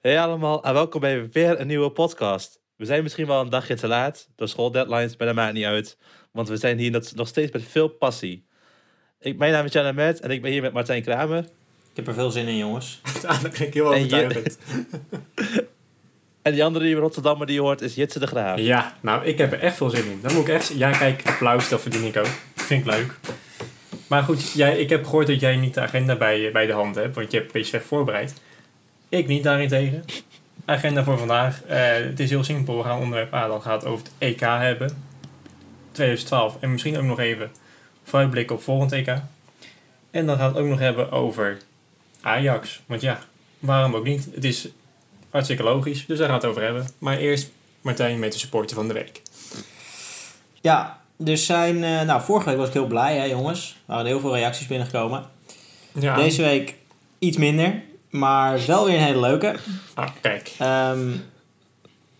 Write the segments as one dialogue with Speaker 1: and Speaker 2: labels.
Speaker 1: Hey allemaal en welkom bij weer een nieuwe podcast. We zijn misschien wel een dagje te laat door schooldeadlines, maar dat maakt niet uit. Want we zijn hier nog- nog steeds met veel passie. Ik, mijn naam is Jana Met en ik ben hier met Martijn Kramer.
Speaker 2: Ik heb er veel zin in, jongens.
Speaker 3: Uiteindelijk ben ik heel
Speaker 1: En je-
Speaker 3: overtuigend.
Speaker 1: En die andere die in Rotterdam die je hoort is Jitse de Graaf.
Speaker 3: Ja, nou, ik heb er echt veel zin in. Dan moet ik echt... Ja, kijk, applaus, dat verdien ik ook. Vind ik leuk. Maar goed, jij, ik heb gehoord dat jij niet de agenda bij, eh, bij de hand hebt, want je hebt een beetje slecht voorbereid. Ik niet, daarentegen. Agenda voor vandaag. eh, het is heel simpel. We gaan onderwerp A dan gaat het over het EK hebben. 2012. En misschien ook nog even vooruitblikken op volgend EK. En dan gaat het ook nog hebben over Ajax. Want ja, waarom ook niet? Het is hartstikke logisch, dus daar gaan we het over hebben. Maar eerst Martijn met de supporter van de week.
Speaker 2: Ja, er zijn... eh, nou, vorige week was ik heel blij, hè, jongens. Er waren heel veel reacties binnengekomen.
Speaker 3: Ja,
Speaker 2: Deze week iets minder, maar wel weer een hele leuke.
Speaker 3: ah, kijk.
Speaker 2: Ehm,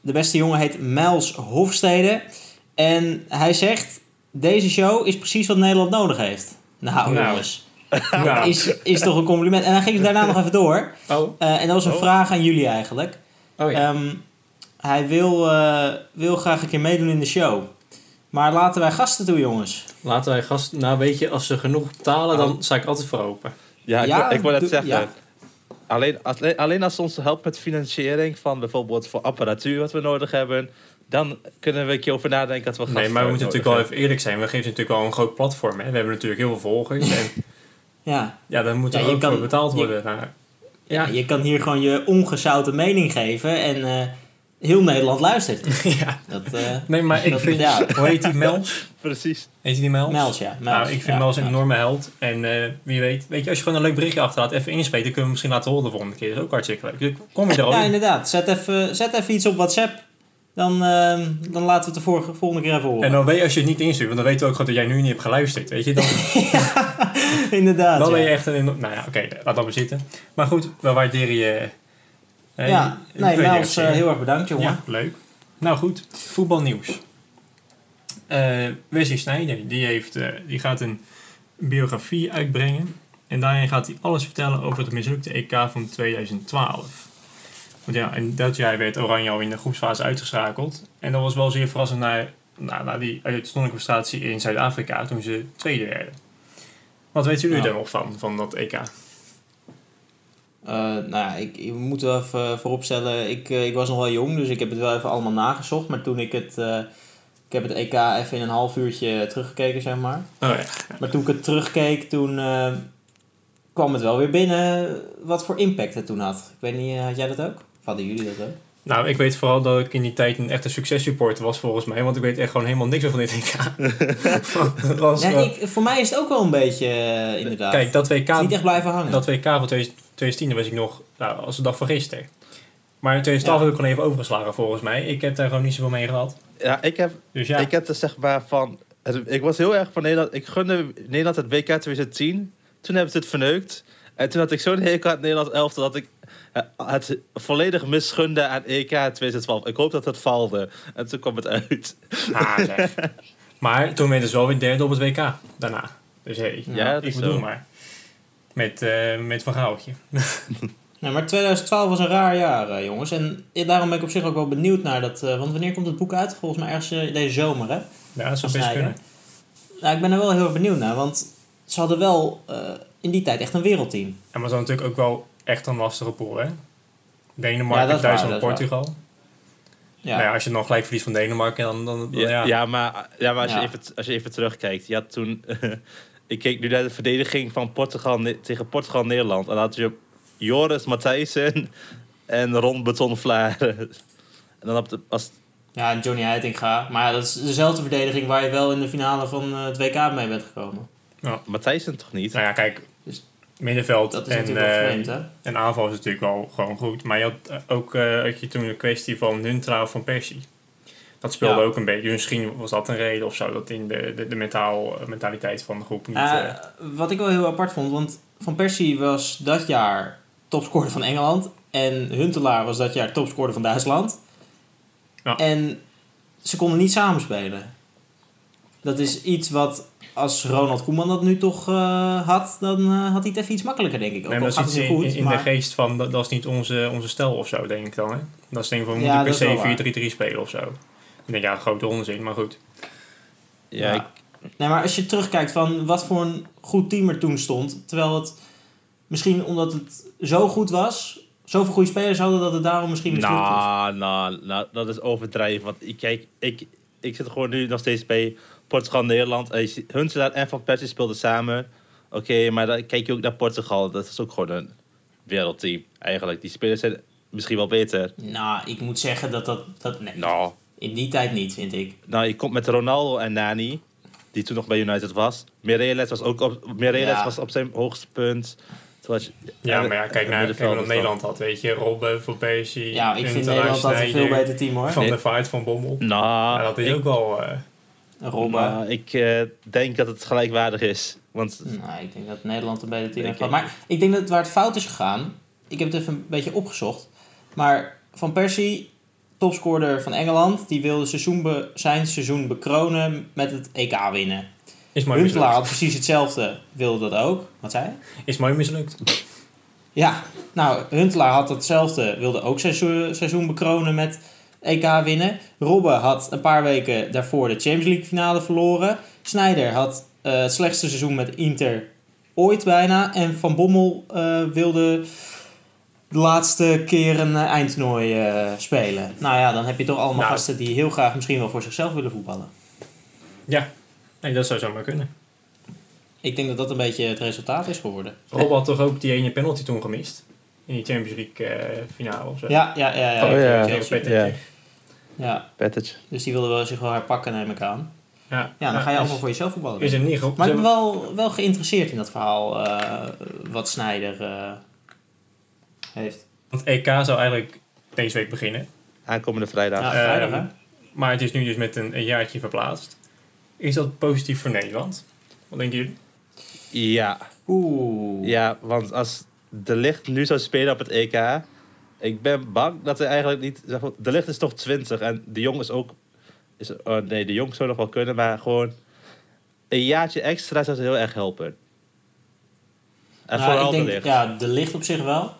Speaker 2: de beste jongen heet Miles Hofstede. En hij zegt... Deze show is precies wat Nederland nodig heeft. Nou,
Speaker 3: Nou.
Speaker 2: jongens.
Speaker 3: Nou,
Speaker 2: Is, is toch een compliment. En hij ging daarna nog even door.
Speaker 3: oh,
Speaker 2: Eh, en dat was een
Speaker 1: Oh.
Speaker 2: vraag aan jullie eigenlijk.
Speaker 3: oh ja.
Speaker 2: Ehm, hij wil, eh, wil graag een keer meedoen in de show. Maar laten wij gasten toe, jongens.
Speaker 3: Laten wij gast... Nou, weet je, als ze genoeg betalen,
Speaker 1: dan
Speaker 3: dan sta ik altijd voor open.
Speaker 1: Ja, ik,
Speaker 2: Ja,
Speaker 1: wou- ik wou net
Speaker 2: doe-
Speaker 1: zeggen.
Speaker 2: ja.
Speaker 1: Alleen, alleen, alleen als ze ons helpt met financiering van bijvoorbeeld voor apparatuur wat we nodig hebben, dan kunnen we een keer over nadenken dat we
Speaker 3: Nee,
Speaker 1: gasten
Speaker 3: maar we moeten
Speaker 1: nodig
Speaker 3: natuurlijk wel
Speaker 1: hebben.
Speaker 3: even eerlijk zijn. We geven ze natuurlijk wel een groot platform, hè. We hebben natuurlijk heel veel volgers. En
Speaker 2: Ja.
Speaker 3: ja, daar moet
Speaker 2: Ja,
Speaker 3: er
Speaker 2: je
Speaker 3: ook
Speaker 2: kan-
Speaker 3: voor betaald
Speaker 2: je-
Speaker 3: worden. Nou,
Speaker 2: Ja.
Speaker 3: Ja.
Speaker 2: Je kan hier gewoon je ongezouten mening geven en eh, heel Nederland luistert.
Speaker 3: ja.
Speaker 2: Dat, eh
Speaker 3: Nee, maar ik
Speaker 2: Dat-
Speaker 3: vind...
Speaker 2: ja.
Speaker 3: Hoe heet die Mels?
Speaker 1: Precies.
Speaker 3: Heet die Mels?
Speaker 2: Mels, ja. Mels,
Speaker 3: Nou, ik vind
Speaker 2: ja,
Speaker 3: Mels een
Speaker 2: ja.
Speaker 3: enorme held. En eh, wie weet, weet je, als je gewoon een leuk berichtje achterlaat, even inspreken, kunnen we misschien laten horen de volgende keer. Dat is ook hartstikke leuk. Dus kom je er al
Speaker 2: Ja,
Speaker 3: in?
Speaker 2: inderdaad. Zet even, zet even iets op WhatsApp. Dan, eh, dan laten we het de vorige, volgende keer even horen.
Speaker 3: En dan weet je als je het niet instuurt, want dan weten we ook gewoon dat jij nu niet hebt geluisterd. Weet je, dan,
Speaker 2: inderdaad.
Speaker 3: dan
Speaker 2: ja.
Speaker 3: ben je echt een. enorm- Nou ja, oké, laat dat maar zitten. Maar goed, we waarderen je. eh,
Speaker 2: ja.
Speaker 3: je-
Speaker 2: Nee,
Speaker 3: ik weet
Speaker 2: Mels,
Speaker 3: niet
Speaker 2: eh,
Speaker 3: of je-
Speaker 2: heel erg bedankt, jongen.
Speaker 3: Ja, leuk. Nou goed, voetbalnieuws. Eh Wesley Sneijder, die, heeft, eh, die gaat een biografie uitbrengen. En daarin gaat hij alles vertellen over het mislukte EK van 2012. Want ja, in dat jaar werd Oranje al in de groepsfase uitgeschakeld. En dat was wel zeer verrassend naar, nou, naar die uitzonderlijke prestatie in Zuid-Afrika toen ze tweede werden. Wat weten jullie
Speaker 2: Ja.
Speaker 3: daar nog van, van dat EK?
Speaker 2: Eh, nou ja, ik, ik moet wel even eh, vooropstellen, ik, eh, ik was nog wel jong, dus ik heb het wel even allemaal nagezocht. Maar toen ik het, eh, ik heb het EK even in een half uurtje teruggekeken, zeg maar.
Speaker 3: Oh ja.
Speaker 2: Maar toen ik het terugkeek, toen eh, kwam het wel weer binnen eh, wat voor impact het toen had. Ik weet niet, eh, had jij dat ook? Of hadden jullie dat ook?
Speaker 3: Nou, ik weet vooral dat ik in die tijd een echte successupporter was volgens mij, want ik weet echt gewoon helemaal niks meer van dit EK. Dat was,
Speaker 2: Nee,
Speaker 3: eh,
Speaker 2: ik, voor mij is het ook wel een beetje, eh, inderdaad.
Speaker 3: Kijk, dat
Speaker 2: het is
Speaker 3: WK,
Speaker 2: niet echt blijven hangen.
Speaker 3: dat WK van 2010 daar was ik nog nou, als de dag van gisteren. Maar in 2012
Speaker 2: Ja.
Speaker 3: heb ik gewoon even overgeslagen volgens mij. Ik heb daar gewoon niet zoveel mee gehad.
Speaker 1: Ja, ik heb
Speaker 3: Dus ja,
Speaker 1: Ik heb er zeg maar van. het- Ik was heel erg van Nederland. Ik gunde Nederland het WK 2010. Toen hebben ze het verneukt. En toen had ik zo'n hekel aan het Nederlands elftal dat ik eh, het volledig misgunde aan EK 2012. Ik hoop dat het valde. En toen kwam het uit.
Speaker 3: ah, zeg. Maar toen werden ze wel weer derde op het WK daarna. Dus hé, hey,
Speaker 1: Ja, dat
Speaker 3: ik
Speaker 1: is
Speaker 3: bedoel
Speaker 1: zo.
Speaker 3: maar. Met, eh, met Van Gaaltje.
Speaker 2: Nee, maar 2012 was een raar jaar, eh, jongens. En daarom ben ik op zich ook wel benieuwd naar dat. eh, want wanneer komt het boek uit? Volgens mij ergens eh, deze zomer, hè?
Speaker 3: Ja, dat
Speaker 2: Van
Speaker 3: zou best
Speaker 2: Sneijder.
Speaker 3: kunnen.
Speaker 2: Nou, ik ben er wel heel erg benieuwd naar, want ze hadden wel eh, in die tijd echt een wereldteam.
Speaker 3: En was dan natuurlijk ook wel echt een lastige pool, hè? Denemarken,
Speaker 2: Ja, dat is waar,
Speaker 3: Duitsland,
Speaker 2: dat is
Speaker 3: Portugal.
Speaker 2: Ja.
Speaker 3: Nou ja, als je dan gelijk verliest van Denemarken, dan... dan, dan-
Speaker 1: Ja,
Speaker 3: ja.
Speaker 1: ja. maar, ja, maar als,
Speaker 2: Ja.
Speaker 1: Je even, als je even terugkijkt. Je had toen. ik keek nu naar de verdediging van Portugal ne- tegen Portugal-Nederland. En dan had je Joris Matthijssen en Ron Beton Vlaar. En dan op de, als,
Speaker 2: Ja, en Johnny Heitinga. Maar ja, dat is dezelfde verdediging waar je wel in de finale van eh, het WK mee bent gekomen.
Speaker 1: Matthijssen toch niet?
Speaker 3: Nou ja, kijk,
Speaker 2: Dus-
Speaker 3: middenveld
Speaker 2: Dat is
Speaker 3: en,
Speaker 2: natuurlijk wel
Speaker 3: eh,
Speaker 2: vreemd, hè?
Speaker 3: en aanval is natuurlijk wel gewoon goed. Maar je had eh, ook eh, had je toen de kwestie van Huntra of van Persie. Dat speelde
Speaker 2: Ja.
Speaker 3: ook een beetje. Misschien was dat een reden of zo, dat in de, de, de mentaal, eh, mentaliteit van de groep niet...
Speaker 2: Eh,
Speaker 3: eh,
Speaker 2: wat ik wel heel apart vond, want Van Persie was dat jaar topscorer van Engeland. En Huntelaar was dat jaar topscorer van Duitsland.
Speaker 3: Ja.
Speaker 2: En ze konden niet samenspelen. Dat is iets wat als Ronald Koeman dat nu toch eh, had, dan eh, had hij het even iets makkelijker, denk ik. Ook
Speaker 3: Nee,
Speaker 2: al
Speaker 3: maar dat
Speaker 2: gaat
Speaker 3: is
Speaker 2: het
Speaker 3: iets
Speaker 2: nu
Speaker 3: in,
Speaker 2: goed,
Speaker 3: in- in
Speaker 2: maar-
Speaker 3: de geest van dat, dat is niet onze, onze stijl of zo, denk ik dan. Hè? Dat is denk ik van we
Speaker 2: Ja,
Speaker 3: moeten
Speaker 2: dat is wel
Speaker 3: per se 4-3-3 spelen of zo. Ik denk ja, grote onzin, maar goed.
Speaker 1: Ja, ik-
Speaker 2: Nee, maar als je terugkijkt van wat voor een goed team er toen stond. Terwijl het misschien omdat het zo goed was, zoveel goede spelers hadden dat het daarom misschien mislukt is.
Speaker 1: Nou, nou, nou, dat is overdrijven. Want ik, kijk, ik, ik zit gewoon nu nog steeds bij Portugal-Nederland. En je ziet- Huntelaar en Van Persie speelden samen. Oké, maar dan kijk je ook naar Portugal. Dat is ook gewoon een wereldteam, eigenlijk. Die spelers zijn misschien wel beter.
Speaker 2: Nou, ik moet zeggen dat dat... dat nee,
Speaker 1: Nou,
Speaker 2: in die tijd niet, vind ik.
Speaker 1: nou je komt met Ronaldo en Nani, die toen nog bij United was. Mireles was ook op, Mireles
Speaker 2: Ja.
Speaker 1: was op zijn hoogste punt. Toen was je-
Speaker 3: Ja,
Speaker 1: en-
Speaker 3: maar ja, kijk
Speaker 1: en
Speaker 3: naar
Speaker 1: middenvelders
Speaker 3: wat
Speaker 1: dan.
Speaker 3: Nederland had, weet je. Robben, Van Persie,
Speaker 2: Ja, ik vind
Speaker 3: Huntelaar,
Speaker 2: Nederland dat een veel
Speaker 3: Sneijder,
Speaker 2: beter team, hoor.
Speaker 3: Van de Vaart, Van Bommel.
Speaker 1: Nou,
Speaker 3: Ja, dat is
Speaker 1: ik-
Speaker 3: ook wel... eh,
Speaker 2: Robben.
Speaker 1: maar ik eh, denk dat het gelijkwaardig is. Want
Speaker 2: Nou, ik denk dat Nederland een beter team
Speaker 1: Ik
Speaker 2: heeft gehad.
Speaker 1: denk-
Speaker 2: Maar ik denk dat waar het fout is gegaan... Ik heb het even een beetje opgezocht. Maar Van Persie, topscorer van Engeland... die wilde seizoen be- zijn seizoen bekronen met het EK winnen.
Speaker 3: is mooi
Speaker 2: Huntelaar had
Speaker 3: mislukt.
Speaker 2: precies hetzelfde, wilde dat ook. Wat zei hij?
Speaker 3: Is mooi mislukt.
Speaker 2: Ja, nou, Huntelaar had hetzelfde, wilde ook zijn seizoen, seizoen bekronen met EK winnen. Robben had een paar weken daarvoor de Champions League finale verloren. Snyder had eh, het slechtste seizoen met Inter ooit bijna. En Van Bommel eh, wilde de laatste keer een eh, eindtoernooi eh, spelen. Nou ja, dan heb je toch allemaal
Speaker 3: Nou.
Speaker 2: gasten die heel graag misschien wel voor zichzelf willen voetballen.
Speaker 3: Ja, nee, dat zou zomaar kunnen.
Speaker 2: Ik denk dat dat een beetje het resultaat is geworden.
Speaker 3: Robben had toch ook die ene penalty toen gemist? In die Champions League eh, finale of zo.
Speaker 2: Ja, ja, ja. ja,
Speaker 1: Oh, ja.
Speaker 2: Chelsea.
Speaker 3: Tegen Peter.
Speaker 1: ja,
Speaker 2: ja.
Speaker 1: Pettetje.
Speaker 2: Dus die wilden wel zich wel herpakken, neem ik aan.
Speaker 3: Ja,
Speaker 2: Ja, dan ga je
Speaker 3: is-
Speaker 2: allemaal voor jezelf voetballen.
Speaker 3: Is hem niet geholpen.
Speaker 2: Maar
Speaker 3: Ze
Speaker 2: ik ben
Speaker 3: hebben-
Speaker 2: wel, wel geïnteresseerd in dat verhaal eh, wat Snijder eh, heeft.
Speaker 3: Want EK zou eigenlijk deze week beginnen.
Speaker 1: Aankomende vrijdag.
Speaker 2: Ja,
Speaker 1: Ja.
Speaker 2: vrijdag,
Speaker 3: ehm,
Speaker 2: hè?
Speaker 3: Maar het is nu dus met een, een jaartje verplaatst. Is dat positief voor Nederland? Wat denken jullie?
Speaker 1: Ja,
Speaker 2: Oeh.
Speaker 1: want als De Licht nu zou spelen op het EK... Ik ben bang dat hij eigenlijk niet... zeg maar, De Licht is toch 20 en De Jong is ook... Is, oh nee, De Jong zou nog wel kunnen, maar gewoon... Een jaartje extra zou ze heel erg helpen. En
Speaker 2: Nou,
Speaker 1: vooral
Speaker 2: ik denk,
Speaker 1: De Licht.
Speaker 2: Ja, de licht op zich wel.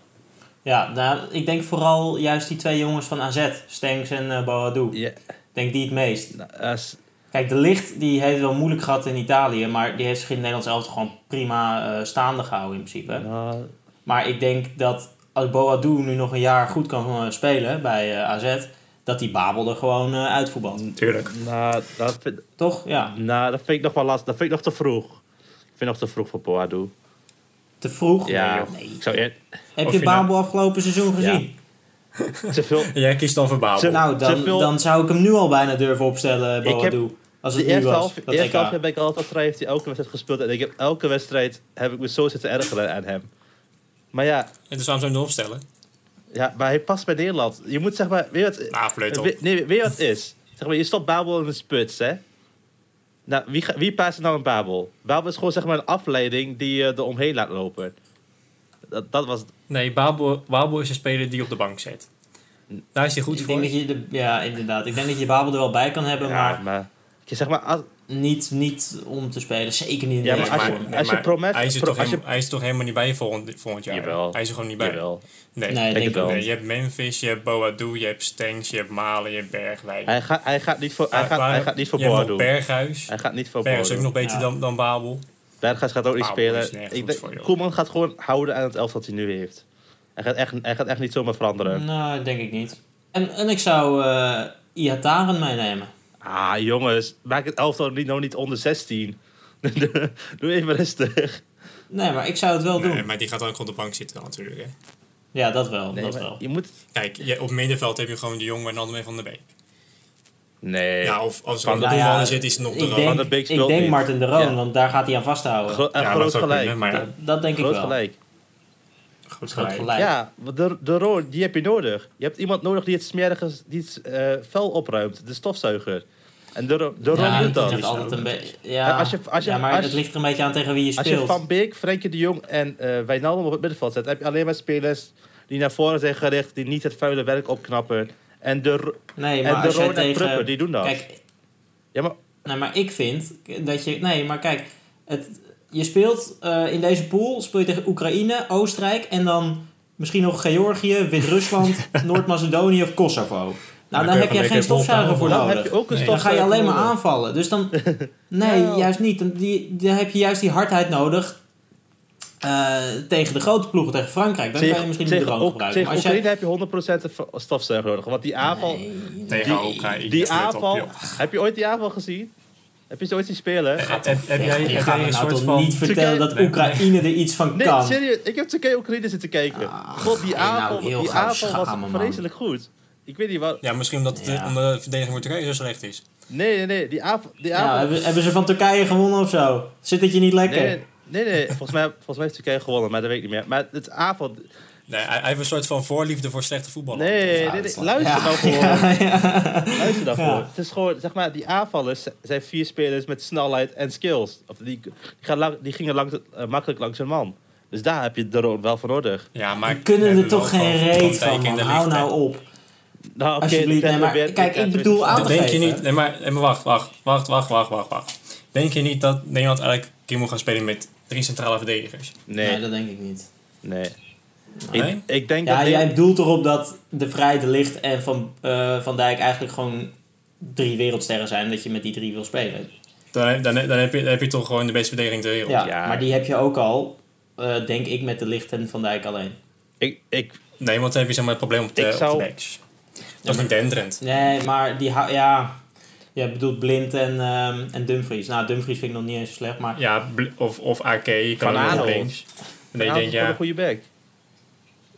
Speaker 2: Ja, nou, ik denk vooral juist die twee jongens van AZ, Stenks en eh Boadou.
Speaker 1: Ja,
Speaker 2: Ik denk die het meest.
Speaker 1: nou, als-
Speaker 2: Kijk, de licht die heeft wel moeilijk gehad in Italië, maar die heeft zich in het Nederlands elftal gewoon prima eh, staande gehouden in principe.
Speaker 1: nou,
Speaker 2: Maar ik denk dat als Boadu nu nog een jaar goed kan eh, spelen bij eh, AZ, dat die Babel er gewoon eh uitvoetbalt.
Speaker 3: Natuurlijk.
Speaker 1: nou, dat vind,
Speaker 2: Toch? Ja.
Speaker 1: nou, dat vind ik nog wel lastig. Dat vind ik nog te vroeg. Ik vind het nog te vroeg voor Boadu.
Speaker 2: Te vroeg?
Speaker 1: Ja,
Speaker 2: Nee, joh. Nee.
Speaker 1: ik zou eer-
Speaker 2: Heb
Speaker 3: Of
Speaker 2: je
Speaker 3: je
Speaker 2: Babel afgelopen seizoen gezien?
Speaker 1: te veel...
Speaker 3: Jij kiest dan voor Babel.
Speaker 1: Ze-
Speaker 2: Nou, dan,
Speaker 1: Te veel-
Speaker 2: dan zou ik hem nu al bijna durven opstellen,
Speaker 1: Ik heb-
Speaker 2: Boadu. als het
Speaker 1: De
Speaker 2: nu
Speaker 1: eerste
Speaker 2: was.
Speaker 1: half,
Speaker 2: dat EK.
Speaker 1: eerste half heb ik al wat vrij, heeft hij elke wedstrijd gespeeld. En ik heb elke wedstrijd heb ik me zo zitten ergeren aan hem. Maar ja,
Speaker 3: En dus waarom zou je hem opstellen?
Speaker 1: ja, maar hij past bij Nederland. Je moet zeg maar, weet je wat,
Speaker 3: Nou, pleut op.
Speaker 1: we- nee, weet je wat het is? Zeg maar, je stopt Babel in een sputs, hè? Nou, wie, ga- wie paast er nou een Babel? Babel is gewoon zeg maar een afleiding die je er omheen laat lopen. Dat, dat was
Speaker 3: Nee, Babel, Babel is een speler die op de bank zet. Daar is hij goed
Speaker 2: ik
Speaker 3: voor.
Speaker 2: denk dat je de, ja, inderdaad. Ik denk dat je Babel er wel bij kan hebben,
Speaker 1: ja,
Speaker 2: maar
Speaker 1: maar, zeg maar, als,
Speaker 2: niet, niet om te spelen. Zeker niet in de
Speaker 1: Ja,
Speaker 2: ja,
Speaker 1: maar als je- als je Promes-
Speaker 3: hij, is er
Speaker 1: Pro-
Speaker 3: toch
Speaker 1: als je-
Speaker 3: helemaal- hij is toch helemaal niet bij volgend, volgend jaar?
Speaker 1: Jawel.
Speaker 3: Hij is er gewoon niet bij.
Speaker 1: jawel.
Speaker 3: Nee.
Speaker 2: Nee,
Speaker 1: denk
Speaker 2: denk ik
Speaker 1: het wel.
Speaker 2: wel.
Speaker 3: Nee, je hebt Memphis, je hebt Boadu, je hebt Stengs, je hebt Malen, je hebt Bergwijk.
Speaker 1: Hij, gaat, hij gaat niet voor, hij gaat,
Speaker 3: Waar-
Speaker 1: hij gaat niet voor
Speaker 3: je hebt
Speaker 1: Boa
Speaker 3: nog
Speaker 1: doen.
Speaker 3: Berghuis.
Speaker 1: Hij gaat niet voor Boa
Speaker 3: Berghuis is ook
Speaker 1: doen.
Speaker 3: nog beter
Speaker 2: Ja.
Speaker 3: dan, dan Babel.
Speaker 1: Berghuis gaat ook niet
Speaker 3: Babel is
Speaker 1: spelen.
Speaker 3: nergens
Speaker 1: Ik
Speaker 3: goed
Speaker 1: denk-
Speaker 3: voor, joh.
Speaker 1: Koeman gaat gewoon houden aan het elftal dat hij nu heeft. Hij gaat echt, hij gaat echt niet zomaar veranderen.
Speaker 2: Nou, denk ik niet. En, en ik zou eh Iataren meenemen.
Speaker 1: Ah, jongens, maak het elftal niet, nou niet onder 16. Doe even rustig.
Speaker 2: Nee, maar ik zou het wel doen.
Speaker 3: Nee, maar die gaat dan ook op de bank zitten dan natuurlijk. Hè.
Speaker 2: Ja, dat wel.
Speaker 1: Nee,
Speaker 2: dat
Speaker 1: maar
Speaker 2: wel.
Speaker 1: je moet...
Speaker 3: Kijk, je- op middenveld heb je gewoon de jongen en Andermee van der Beek.
Speaker 1: Nee.
Speaker 3: Ja, of als
Speaker 1: Van-
Speaker 3: Van de
Speaker 2: Nou ja,
Speaker 3: Boeman zit, is het nog de
Speaker 2: ik
Speaker 3: Roon.
Speaker 1: Van
Speaker 2: denk,
Speaker 1: der Beek
Speaker 2: ik
Speaker 1: speelt
Speaker 2: denk
Speaker 1: niet.
Speaker 2: Martin de Roon,
Speaker 1: Ja.
Speaker 2: want daar gaat hij aan vasthouden.
Speaker 1: Gro- echt
Speaker 3: Ja, dat
Speaker 1: groot
Speaker 3: zou
Speaker 1: gelijk.
Speaker 3: kunnen, maar ja,
Speaker 2: dat, dat denk ik
Speaker 1: groot
Speaker 2: wel.
Speaker 1: gelijk.
Speaker 3: groot
Speaker 2: Groot
Speaker 3: gelijk.
Speaker 2: gelijk.
Speaker 1: Ja, want de, de rood, die heb je nodig. Je hebt iemand nodig die het smerige die het, eh, vuil opruimt. De stofzuiger. En de, ro- de rood
Speaker 2: Ja,
Speaker 1: doet
Speaker 2: ik denk
Speaker 1: dat.
Speaker 2: dat altijd een beetje. Ja,
Speaker 1: Ja, als je- als je-
Speaker 2: ja, maar
Speaker 1: als-
Speaker 2: het ligt er een beetje aan tegen wie je
Speaker 1: Als
Speaker 2: speelt.
Speaker 1: je Van Beek, Frenkie de Jong en eh Wijnaldum op het middenveld zet, heb je alleen maar spelers die naar voren zijn gericht, die niet het vuile werk opknappen. En de, ro-
Speaker 2: nee, maar
Speaker 1: en de
Speaker 2: als je
Speaker 1: Roon en
Speaker 2: tegen.
Speaker 1: Pruppen, die doen dat.
Speaker 2: Kijk,
Speaker 1: ja, maar
Speaker 2: Nou, maar ik vind dat je... Nee, maar kijk. Het, je speelt eh, in deze pool speel je tegen Oekraïne, Oostenrijk en dan misschien nog Georgië, Wit-Rusland, Noord-Macedonië of Kosovo. Nou,
Speaker 4: dan
Speaker 2: daar
Speaker 4: kun je
Speaker 2: heb jij
Speaker 4: gewoon lekker
Speaker 2: geen stofzuiger voor
Speaker 4: rondhandelen.
Speaker 1: Dan heb
Speaker 2: nodig.
Speaker 1: je ook een
Speaker 4: Nee,
Speaker 2: Dan ga je
Speaker 1: stofzuiger
Speaker 2: alleen maar
Speaker 1: nodig. Nou.
Speaker 2: aanvallen. Dus dan... Nee,
Speaker 1: Ja.
Speaker 2: juist niet. Dan, die, dan heb je juist die hardheid nodig eh, tegen de grote ploegen, tegen Frankrijk. Dan kan je
Speaker 1: Tegen-
Speaker 2: misschien
Speaker 1: tegen
Speaker 2: de drone
Speaker 1: Oek-
Speaker 2: gebruiken.
Speaker 1: Tegen
Speaker 2: Maar als jij-
Speaker 1: Oekraïne heb je 100% een stofzuiger nodig. Want die aanval...
Speaker 2: Nee.
Speaker 4: Tegen Oekraïne.
Speaker 1: Die
Speaker 4: let op,
Speaker 1: aanval...
Speaker 4: joh.
Speaker 1: Heb je ooit die aanval gezien? Heb je ze ooit zien spelen?
Speaker 4: Heb, heb, heb jij,
Speaker 2: Ja, je
Speaker 4: heb
Speaker 2: gaat
Speaker 4: jij
Speaker 2: me
Speaker 4: een
Speaker 2: nou
Speaker 4: soort
Speaker 2: toch
Speaker 4: van...
Speaker 2: niet vertellen dat
Speaker 4: Nee,
Speaker 2: Oekraïne er iets van
Speaker 1: Nee,
Speaker 2: kan.
Speaker 1: serieus. Ik heb Turkije Oekraïne zitten kijken.
Speaker 2: Ah,
Speaker 1: God, die
Speaker 2: ga je nou
Speaker 1: aanval,
Speaker 2: heel
Speaker 1: die
Speaker 2: gauw
Speaker 1: aanval was
Speaker 2: schamen, man.
Speaker 1: vreselijk goed. Ik weet niet wat...
Speaker 3: Ja, misschien omdat de-
Speaker 2: Ja.
Speaker 3: omdat de verdediging voor Turkije zo slecht is.
Speaker 1: Nee, nee, nee. Die aanval... Die
Speaker 2: Ja,
Speaker 1: aanval
Speaker 2: hebben, hebben ze van Turkije gewonnen of zo? Zit het je niet lekker?
Speaker 1: nee, nee, nee. Volgens mij, volgens mij heeft Turkije gewonnen, maar dat weet ik niet meer. Maar het aanval...
Speaker 2: Oh,
Speaker 3: Nee, hij, hij heeft een soort van voorliefde voor slechte voetbal.
Speaker 1: Nee, nee,
Speaker 2: Ja,
Speaker 1: nee,
Speaker 2: dat is
Speaker 1: Luister
Speaker 2: ja,
Speaker 1: nou gewoon.
Speaker 2: ja, ja.
Speaker 1: Luister daarvoor.
Speaker 2: Ja.
Speaker 1: Het is gewoon, zeg maar, die aanvallers z- zijn vier spelers met snelheid en skills. Of die, die, gaan lang, die gingen lang, eh, makkelijk langs hun man. Dus daar heb je de rood wel voor nodig.
Speaker 3: Ja, maar
Speaker 2: We kunnen er
Speaker 3: hebben
Speaker 2: toch
Speaker 3: wel
Speaker 2: geen
Speaker 3: gewoon
Speaker 2: reet
Speaker 3: voetbalteken
Speaker 2: van, man.
Speaker 3: in de
Speaker 2: Hou
Speaker 3: licht, hè.
Speaker 2: nou op.
Speaker 1: Nou, oké,
Speaker 2: Alsjeblieft,
Speaker 1: dan
Speaker 2: nee, maar
Speaker 1: probeer-
Speaker 2: kijk, ik bedoel
Speaker 1: weet het
Speaker 2: aan-
Speaker 1: niet.
Speaker 3: Maar denk je
Speaker 2: geven,
Speaker 3: niet...
Speaker 2: hè?
Speaker 3: Nee, maar, nee, maar wacht, wacht, wacht, wacht, wacht, wacht, wacht. Denk je niet dat Nederland eigenlijk een keer moet gaan spelen met drie centrale verdedigers?
Speaker 2: Nee,
Speaker 1: Nee,
Speaker 2: dat denk ik niet.
Speaker 1: nee.
Speaker 3: Nee?
Speaker 1: Ik, ik denk
Speaker 2: Ja,
Speaker 1: dat...
Speaker 2: jij doelt erop dat de Vrij, de Licht en Van, eh, van Dijk eigenlijk gewoon drie wereldsterren zijn. Dat je met die drie wil spelen.
Speaker 3: Dan, dan, dan, heb je, dan heb je toch gewoon de beste verdediging ter wereld.
Speaker 2: Ja,
Speaker 1: ja.
Speaker 2: maar die heb je ook al, eh, denk ik, met de Licht en Van Dijk alleen.
Speaker 1: Ik, ik,
Speaker 3: Nee, want dan heb je zeg maar, het probleem op de,
Speaker 1: Ik
Speaker 3: op de
Speaker 1: zou-
Speaker 3: backs. Dat is niet denderend.
Speaker 2: Nee, maar die hou- ja. Je bedoelt Blind en, ehm, en Dumfries. Nou, Dumfries vind ik nog niet eens zo slecht, maar
Speaker 4: Ja, bl- of, of AK, je kan
Speaker 1: Van
Speaker 4: ook
Speaker 1: Aanholt.
Speaker 4: links. Nee, ik
Speaker 1: Aanholt
Speaker 4: denk
Speaker 1: is gewoon een
Speaker 4: ja,
Speaker 1: goede back.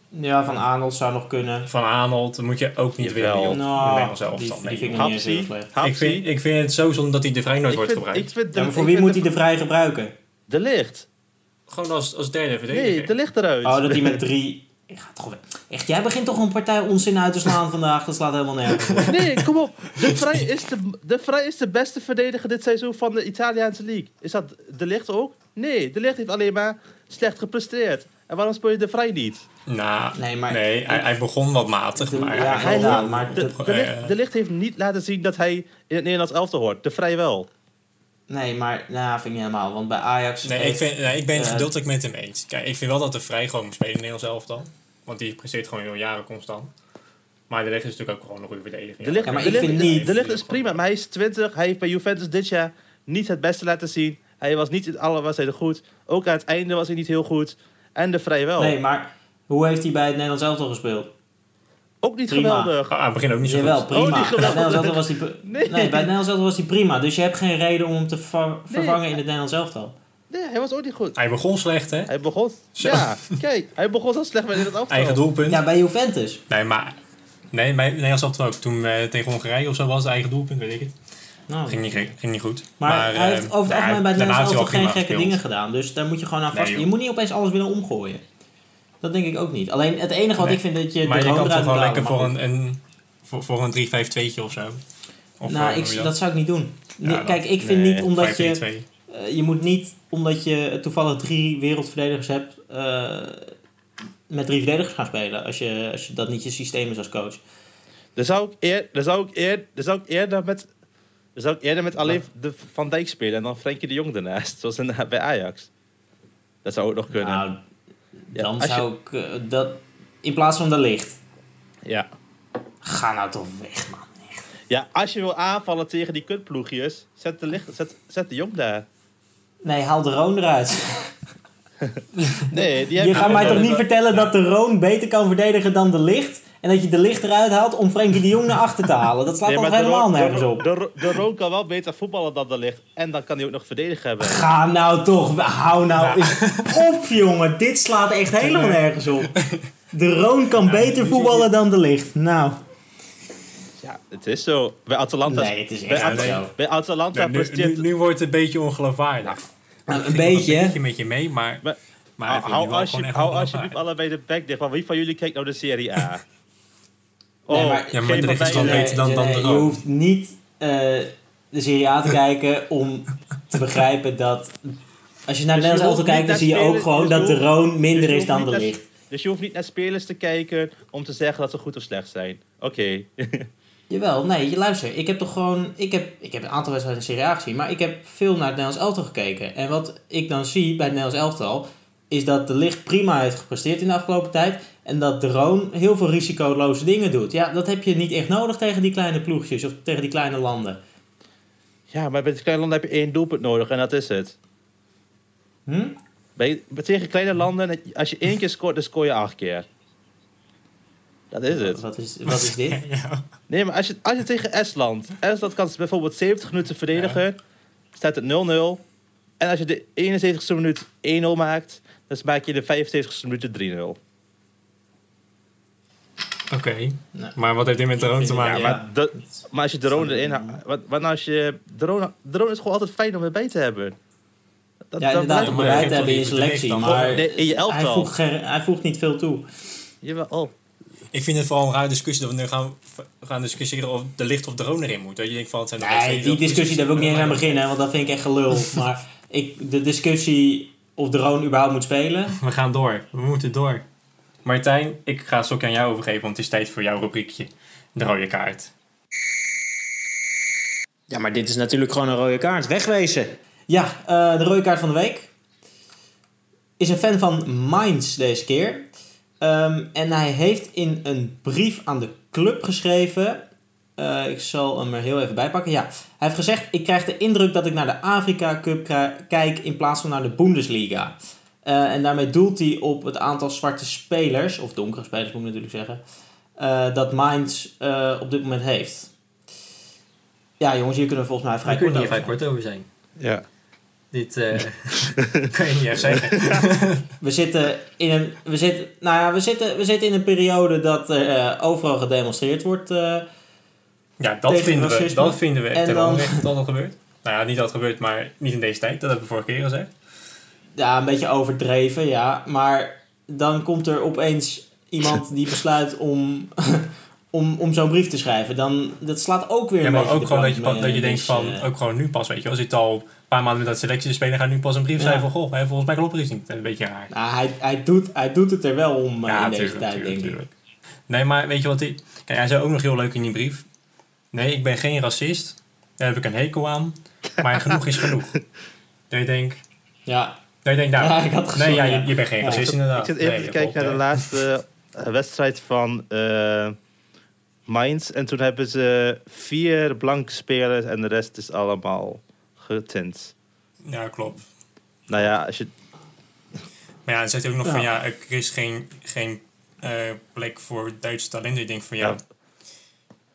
Speaker 2: ja, Van Arnold zou nog kunnen.
Speaker 4: Van Aanholt moet je ook niet
Speaker 1: Jawel.
Speaker 4: willen, joh.
Speaker 2: Nou,
Speaker 4: in Nederland zelf.
Speaker 2: die-
Speaker 4: dan,
Speaker 2: die
Speaker 4: nee,
Speaker 2: vind
Speaker 4: joh.
Speaker 2: ik niet eens heel
Speaker 1: Hapsi,
Speaker 2: slecht.
Speaker 1: Hapsi.
Speaker 3: Ik vind, ik vind het zo zonde dat hij de vrij nooit
Speaker 1: Ik
Speaker 3: wordt
Speaker 1: vind-
Speaker 3: gebruikt.
Speaker 1: Ik vind de,
Speaker 2: Ja, maar voor
Speaker 1: ik
Speaker 2: wie
Speaker 1: vind
Speaker 2: moet hij de Vrij gebruiken?
Speaker 1: De licht.
Speaker 3: Gewoon als, als derde verdediger.
Speaker 1: Nee, de licht eruit.
Speaker 2: Oh, dat hij met drie... Ik ga toch weg. Echt, jij begint toch een partij onzin uit te slaan vandaag. Dat slaat helemaal nergens op.
Speaker 1: Nee, kom op. De Vrij is de, de, Vrij is de beste verdediger dit seizoen van de Italiaanse league. Is dat De Ligt ook? Nee, De Ligt heeft alleen maar slecht gepresteerd. En waarom speel je De Vrij niet?
Speaker 3: Nou,
Speaker 2: Nee, maar-
Speaker 3: nee hij, hij begon wat matig,
Speaker 2: De-
Speaker 3: maar...
Speaker 2: ja,
Speaker 3: hij-
Speaker 2: hij-
Speaker 1: Hij
Speaker 2: Ja,
Speaker 1: heeft-
Speaker 2: maar eh,
Speaker 1: de,
Speaker 3: dat-
Speaker 1: de, Ligt, de Ligt heeft niet laten zien dat hij in het Nederlands elftal hoort. De Vrij wel.
Speaker 2: Nee, maar... Nou, vind ik niet helemaal. Want bij Ajax...
Speaker 3: Nee, ik,
Speaker 2: heeft-
Speaker 3: vind, nee, ik ben het
Speaker 2: eh,
Speaker 3: gedeeltelijk met hem eens. Kijk, ik vind wel dat de Vrij gewoon moet spelen in Nederland zelf dan. Want die presteert gewoon heel jaren constant. Maar de Ligt is natuurlijk ook gewoon een goede verdediging.
Speaker 1: De Ligt,
Speaker 2: Ja, maar
Speaker 1: de,
Speaker 2: ik
Speaker 1: Ligt,
Speaker 2: vind niet-
Speaker 1: de Ligt is prima, maar hij is 20. Hij heeft bij Juventus dit jaar niet het beste laten zien. Hij was niet in alle wedstrijden goed. Ook aan het einde was hij niet heel goed. En De Vrij wel.
Speaker 2: Nee, maar hoe heeft hij bij het Nederlands elftal gespeeld?
Speaker 1: ook niet
Speaker 2: prima.
Speaker 1: geweldig.
Speaker 3: Ah, aan het begin ook niet zo
Speaker 2: Jawel,
Speaker 3: goed.
Speaker 1: Oh,
Speaker 2: prima.
Speaker 1: die
Speaker 2: bij, het
Speaker 1: geweldig.
Speaker 2: Nederlands elftal was die, nee.
Speaker 1: Nee.
Speaker 2: bij het Nederlands elftal was hij prima. Dus je hebt geen reden om hem te ver- vervangen in het Nederlands elftal.
Speaker 1: Nee, hij was ook niet goed.
Speaker 3: Hij begon slecht, hè?
Speaker 1: Hij begon.
Speaker 3: Zo.
Speaker 1: Ja, kijk, hij begon zo slecht bij dit afval.
Speaker 3: Eigen doelpunt.
Speaker 2: Ja, bij Juventus.
Speaker 3: Nee, maar... Nee, bij Nederland zelf ook. Toen eh, tegen Hongarije of zo was het eigen doelpunt, weet ik het.
Speaker 2: Nou,
Speaker 3: Ging niet, gek- ging niet goed.
Speaker 2: Maar, hij heeft
Speaker 3: eh,
Speaker 2: over het
Speaker 3: nou,
Speaker 2: algemeen bij het
Speaker 3: daarna
Speaker 2: Nederlands
Speaker 3: heeft hij wel
Speaker 2: elftal geen
Speaker 3: prima
Speaker 2: gekke
Speaker 3: gespeeld.
Speaker 2: dingen gedaan. Dus daar moet je gewoon aan vast.
Speaker 3: joh.
Speaker 2: je moet niet opeens alles willen omgooien. Dat denk ik ook niet. Alleen het enige wat
Speaker 3: Nee.
Speaker 2: ik vind dat je
Speaker 3: Maar je
Speaker 2: drone
Speaker 3: kan
Speaker 2: eruit
Speaker 3: toch
Speaker 2: moet
Speaker 3: wel
Speaker 2: halen,
Speaker 3: lekker
Speaker 2: maar
Speaker 3: voor
Speaker 2: goed.
Speaker 3: een, een, voor, voor een 3-5-2'tje of zo. Of eh,
Speaker 2: nou,
Speaker 3: hoe
Speaker 2: ik,
Speaker 3: je
Speaker 2: dat zou ik niet doen.
Speaker 3: Ja,
Speaker 2: Nee,
Speaker 3: dat-
Speaker 2: Kijk, ik vind
Speaker 1: nee,
Speaker 2: niet omdat je...
Speaker 3: 5-3-2.
Speaker 2: eh, je moet niet omdat je eh, toevallig drie wereldverdedigers hebt... eh, met drie verdedigers gaan spelen. Als, je, als je, dat niet je systeem is als coach.
Speaker 1: Dan zou ik, eer, dan zou ik, eer, dan zou ik eerder met... Dan zou ik eerder met alleen de Van Dijk spelen en dan Frenkie de Jong daarnaast. Zoals in, bij Ajax. Dat zou ook nog kunnen.
Speaker 2: Nou, dan
Speaker 1: als je-
Speaker 2: zou ik... eh, dat, in plaats van de licht.
Speaker 1: ja.
Speaker 2: Ga nou toch weg, man.
Speaker 1: ja, als je wil aanvallen tegen die kutploegjes, zet de, licht, zet, zet de Jong daar.
Speaker 2: Nee, haal de Roon eruit.
Speaker 1: Nee, die
Speaker 2: Je
Speaker 1: hebben-
Speaker 2: gaat mij toch niet
Speaker 1: Ja.
Speaker 2: vertellen dat de Roon beter kan verdedigen dan de Licht? En dat je de Licht eruit haalt om Frenkie de Jong naar achter te halen? Dat slaat
Speaker 1: Nee,
Speaker 2: toch
Speaker 1: maar de
Speaker 2: helemaal
Speaker 1: Roon- de
Speaker 2: nergens
Speaker 1: Roon-
Speaker 2: op?
Speaker 1: De, Ro- de Roon kan wel beter voetballen dan de licht. En dan kan hij ook nog verdedigen hebben.
Speaker 2: Ga nou toch, hou nou eens op jongen. Dit slaat echt helemaal nergens op. De Roon kan beter voetballen dan de Licht. Nou,
Speaker 1: Ja, het is zo. Bij Atalanta,
Speaker 2: nee, het is
Speaker 1: bij,
Speaker 2: echt
Speaker 1: At-
Speaker 2: niet
Speaker 3: nee.
Speaker 2: zo.
Speaker 1: bij Atalanta
Speaker 3: Ja, nu,
Speaker 1: presteert...
Speaker 3: nu, nu wordt het een beetje ongeloofwaardig.
Speaker 2: Nou, Een
Speaker 3: Ik
Speaker 2: beetje.
Speaker 3: een beetje met je mee, maar...
Speaker 1: Maar-
Speaker 3: maar
Speaker 1: Hou-
Speaker 3: ik vind
Speaker 1: hou
Speaker 3: die wel
Speaker 1: als je,
Speaker 3: gewoon echt
Speaker 1: hou
Speaker 3: ongeloofwaardig.
Speaker 1: alsjeblieft allebei de bek dicht. Want wie van jullie kijkt nou de Serie A? oh,
Speaker 2: Nee, maar-
Speaker 3: Ja, maar
Speaker 1: geen van
Speaker 3: de licht is
Speaker 1: beiden.
Speaker 3: dan beter dan- dan de
Speaker 2: je
Speaker 3: Roon.
Speaker 2: hoeft niet eh, de Serie A te kijken om te begrijpen dat... Als je naar
Speaker 1: Dus je hoeft
Speaker 2: Nederlands elftal kijkt,
Speaker 1: niet
Speaker 2: dan
Speaker 1: naar
Speaker 2: zie je
Speaker 1: spelen-
Speaker 2: ook gewoon
Speaker 1: dus
Speaker 2: dat de
Speaker 1: je hoeft-
Speaker 2: Roon minder
Speaker 1: dus je
Speaker 2: is dan
Speaker 1: hoeft
Speaker 2: de
Speaker 1: niet
Speaker 2: Licht.
Speaker 1: Dus je hoeft niet naar spelers te kijken om te zeggen dat ze goed of slecht zijn. Oké.
Speaker 2: Jawel, nee, luister. Ik heb toch gewoon... Ik heb, ik heb een aantal wedstrijden in de Serie A gezien. Maar ik heb veel naar het Nederlands elftal gekeken. En wat ik dan zie bij het Nederlands elftal... is dat de licht prima heeft gepresteerd in de afgelopen tijd. En dat de Roon heel veel risicoloze dingen doet. Ja, dat heb je niet echt nodig tegen die kleine ploegjes. Of tegen die kleine landen.
Speaker 1: Ja, maar bij het kleine landen heb je één doelpunt nodig en dat is het.
Speaker 2: Hm?
Speaker 1: Bij, bij- tegen kleine landen, als je één keer scoort, dan scoor je acht keer. Dat is het.
Speaker 2: Wat is, wat is dit?
Speaker 3: ja.
Speaker 1: Nee, maar als je, als je tegen Estland... Estland kan bijvoorbeeld 70 minuten verdedigen. Staat het 0-0. En als je de 71ste minuut 1-0 maakt... dan maak je de 75ste minuut 3-0.
Speaker 3: Oké.
Speaker 2: Nee.
Speaker 3: Maar wat heeft dit met de roon te maken?
Speaker 1: Ja, maar, dat- maar als je drone erin... ha- Wat, wat nou als je... Drone, drone is gewoon altijd fijn om erbij te hebben. Dat,
Speaker 2: ja, inderdaad,
Speaker 1: blijft-
Speaker 2: om
Speaker 3: maar ik
Speaker 2: bereid
Speaker 3: heb
Speaker 2: te hebben in je
Speaker 3: toch liever niks
Speaker 2: selectie.
Speaker 3: dan
Speaker 2: Maar
Speaker 1: Nee, in je
Speaker 2: hij
Speaker 1: elftal.
Speaker 2: voegt, geen- hij voegt niet veel toe.
Speaker 1: Jawel. oh.
Speaker 3: Ik vind het vooral een raar discussie dat we nu gaan, gaan discussiëren of de licht of de roon erin moet. Dat je denkt van het zijn de
Speaker 2: Nee,
Speaker 3: wedstrijden
Speaker 2: die
Speaker 3: dat-
Speaker 2: discussie daar wil ik niet eens aan beginnen, want dat vind ik echt gelul. Maar ik, de discussie of drone überhaupt moet spelen.
Speaker 4: We gaan door. We moeten door. Martijn, ik ga het stokje aan jou overgeven, want het is tijd voor jouw rubriekje. De rode kaart.
Speaker 2: Ja, maar dit is natuurlijk gewoon een rode kaart. Wegwezen. Ja, eh, de rode kaart van de week. Is een fan van Mainz deze keer. Ehm, en hij heeft in een brief aan de club geschreven. eh, ik zal hem er heel even bij pakken. Ja, hij heeft gezegd: Ik krijg de indruk dat ik naar de Afrika Cup kra- kijk in plaats van naar de Bundesliga. Eh, en daarmee doelt hij op het aantal zwarte spelers, of donkere spelers moet ik natuurlijk zeggen, eh, dat Mainz eh, op dit moment heeft. Ja, jongens, hier kunnen we volgens mij vrij
Speaker 4: Daar kun je
Speaker 2: kort
Speaker 4: niet
Speaker 2: over
Speaker 4: vrij
Speaker 2: zijn.
Speaker 4: kort over zijn.
Speaker 1: Ja.
Speaker 4: Dit eh, kan je niet echt zeggen.
Speaker 2: We zitten in een, we zitten, nou ja, we zitten, we zitten in een periode dat er eh, overal gedemonstreerd wordt. eh,
Speaker 3: Ja, dat
Speaker 2: Tegen
Speaker 3: vinden we.
Speaker 2: racisme.
Speaker 3: Dat vinden we
Speaker 2: En
Speaker 3: echt ten
Speaker 2: dan-
Speaker 3: onrechte dat dat gebeurt. Nou ja, niet dat het gebeurt, maar niet in deze tijd. Dat hebben we vorige keer gezegd.
Speaker 2: ja, een beetje overdreven, ja. Maar dan komt er opeens iemand die besluit om, om, om zo'n brief te schrijven. Dan, dat slaat ook weer
Speaker 3: Ja,
Speaker 2: een
Speaker 3: maar
Speaker 2: beetje
Speaker 3: ook
Speaker 2: de
Speaker 3: gewoon dat je,
Speaker 2: plank
Speaker 3: pa-
Speaker 2: mee,
Speaker 3: dat je
Speaker 2: dus,
Speaker 3: denkt van,
Speaker 2: eh,
Speaker 3: ook gewoon nu pas, weet je. Als ik al een paar maanden met dat selectie spelen, ga ik nu pas een brief
Speaker 2: Ja.
Speaker 3: schrijven van, goh, hè, volgens mij klopt er iets niet. Een beetje raar.
Speaker 2: nou, hij, hij, doet, hij doet het er wel om eh, in deze
Speaker 3: tuurlijk,
Speaker 2: tijd,
Speaker 3: tuurlijk,
Speaker 2: denk ik.
Speaker 3: tuurlijk. Nee, maar weet je wat hij... Kijk, hij zei ook nog heel leuk in die brief. Nee, ik ben geen racist. Daar heb ik een hekel aan. Maar genoeg is genoeg. Dat je denkt...
Speaker 2: Ja,
Speaker 3: Dat je denkt, nou...
Speaker 2: Ja, ik had gezien,
Speaker 3: nee, ja,
Speaker 2: ja.
Speaker 3: je, je bent geen
Speaker 2: Ja.
Speaker 3: racist
Speaker 1: Ik
Speaker 3: inderdaad.
Speaker 1: zit even
Speaker 3: Nee,
Speaker 1: te
Speaker 3: dat
Speaker 1: kijken naar de
Speaker 3: klopt,
Speaker 1: laatste eh, wedstrijd van eh Mainz. En toen hebben ze vier blanke spelers en de rest is allemaal getint.
Speaker 3: hè. Ja, klopt.
Speaker 1: Nou ja, als je...
Speaker 3: Maar ja, dan zegt hij ook nog van,
Speaker 2: Ja.
Speaker 3: ja, er is geen, geen eh, plek voor Duitse talenten. Ik denk van, ja...
Speaker 1: Ja.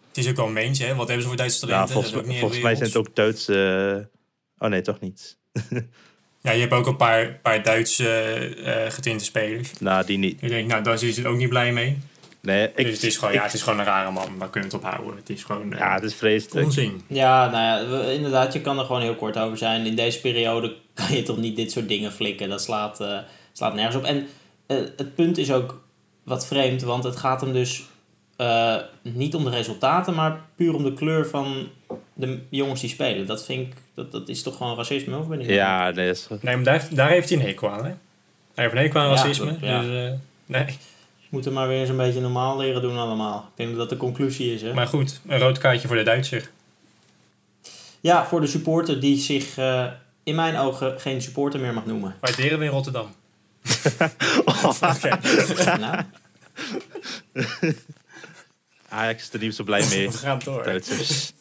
Speaker 3: Het is ook wel een meentje, hè. Wat hebben ze voor Duitse
Speaker 1: Nou,
Speaker 3: talenten?
Speaker 1: volgens,
Speaker 3: Dat is ook niet
Speaker 1: volgens
Speaker 3: heel
Speaker 1: mij
Speaker 3: veel.
Speaker 1: zijn het ook Duitse... Oh nee, toch niet.
Speaker 3: Ja, je hebt ook een paar, paar Duitse eh, getinte spelers.
Speaker 1: Nou, die niet.
Speaker 3: Ik denk, nou, daar is hij ook niet blij mee.
Speaker 1: Nee, ik,
Speaker 3: dus het is, gewoon,
Speaker 1: ik-
Speaker 3: ja, het is gewoon een rare man, daar kunnen we het op houden. Het is gewoon eh,
Speaker 1: ja, het is vreselijk.
Speaker 3: onzin.
Speaker 2: ja, nou ja, we- inderdaad, je kan er gewoon heel kort over zijn. In deze periode kan je toch niet dit soort dingen flikken. Dat slaat, eh, slaat nergens op. En eh, het punt is ook wat vreemd, want het gaat hem dus eh, niet om de resultaten, maar puur om de kleur van de jongens die spelen. Dat vind ik, dat, dat is toch gewoon racisme, of ben ik nou-
Speaker 1: Ja, nee, is-
Speaker 3: Nee, maar daar, heeft- daar heeft hij een hekel aan, hè? Hij heeft een hekel aan
Speaker 2: Ja,
Speaker 3: racisme.
Speaker 2: dat- ja.
Speaker 3: Dus, eh, nee.
Speaker 2: Moeten maar weer eens een beetje normaal leren doen allemaal. Ik denk dat dat de conclusie is, hè?
Speaker 3: Maar goed, een rood kaartje voor de Duitser.
Speaker 2: Ja, voor de supporter die zich eh, in mijn ogen geen supporter meer mag noemen.
Speaker 3: Waarderen we in Rotterdam.
Speaker 2: nou,
Speaker 1: Ajax is er niet zo blij mee.
Speaker 3: We gaan door.
Speaker 1: Duitsers.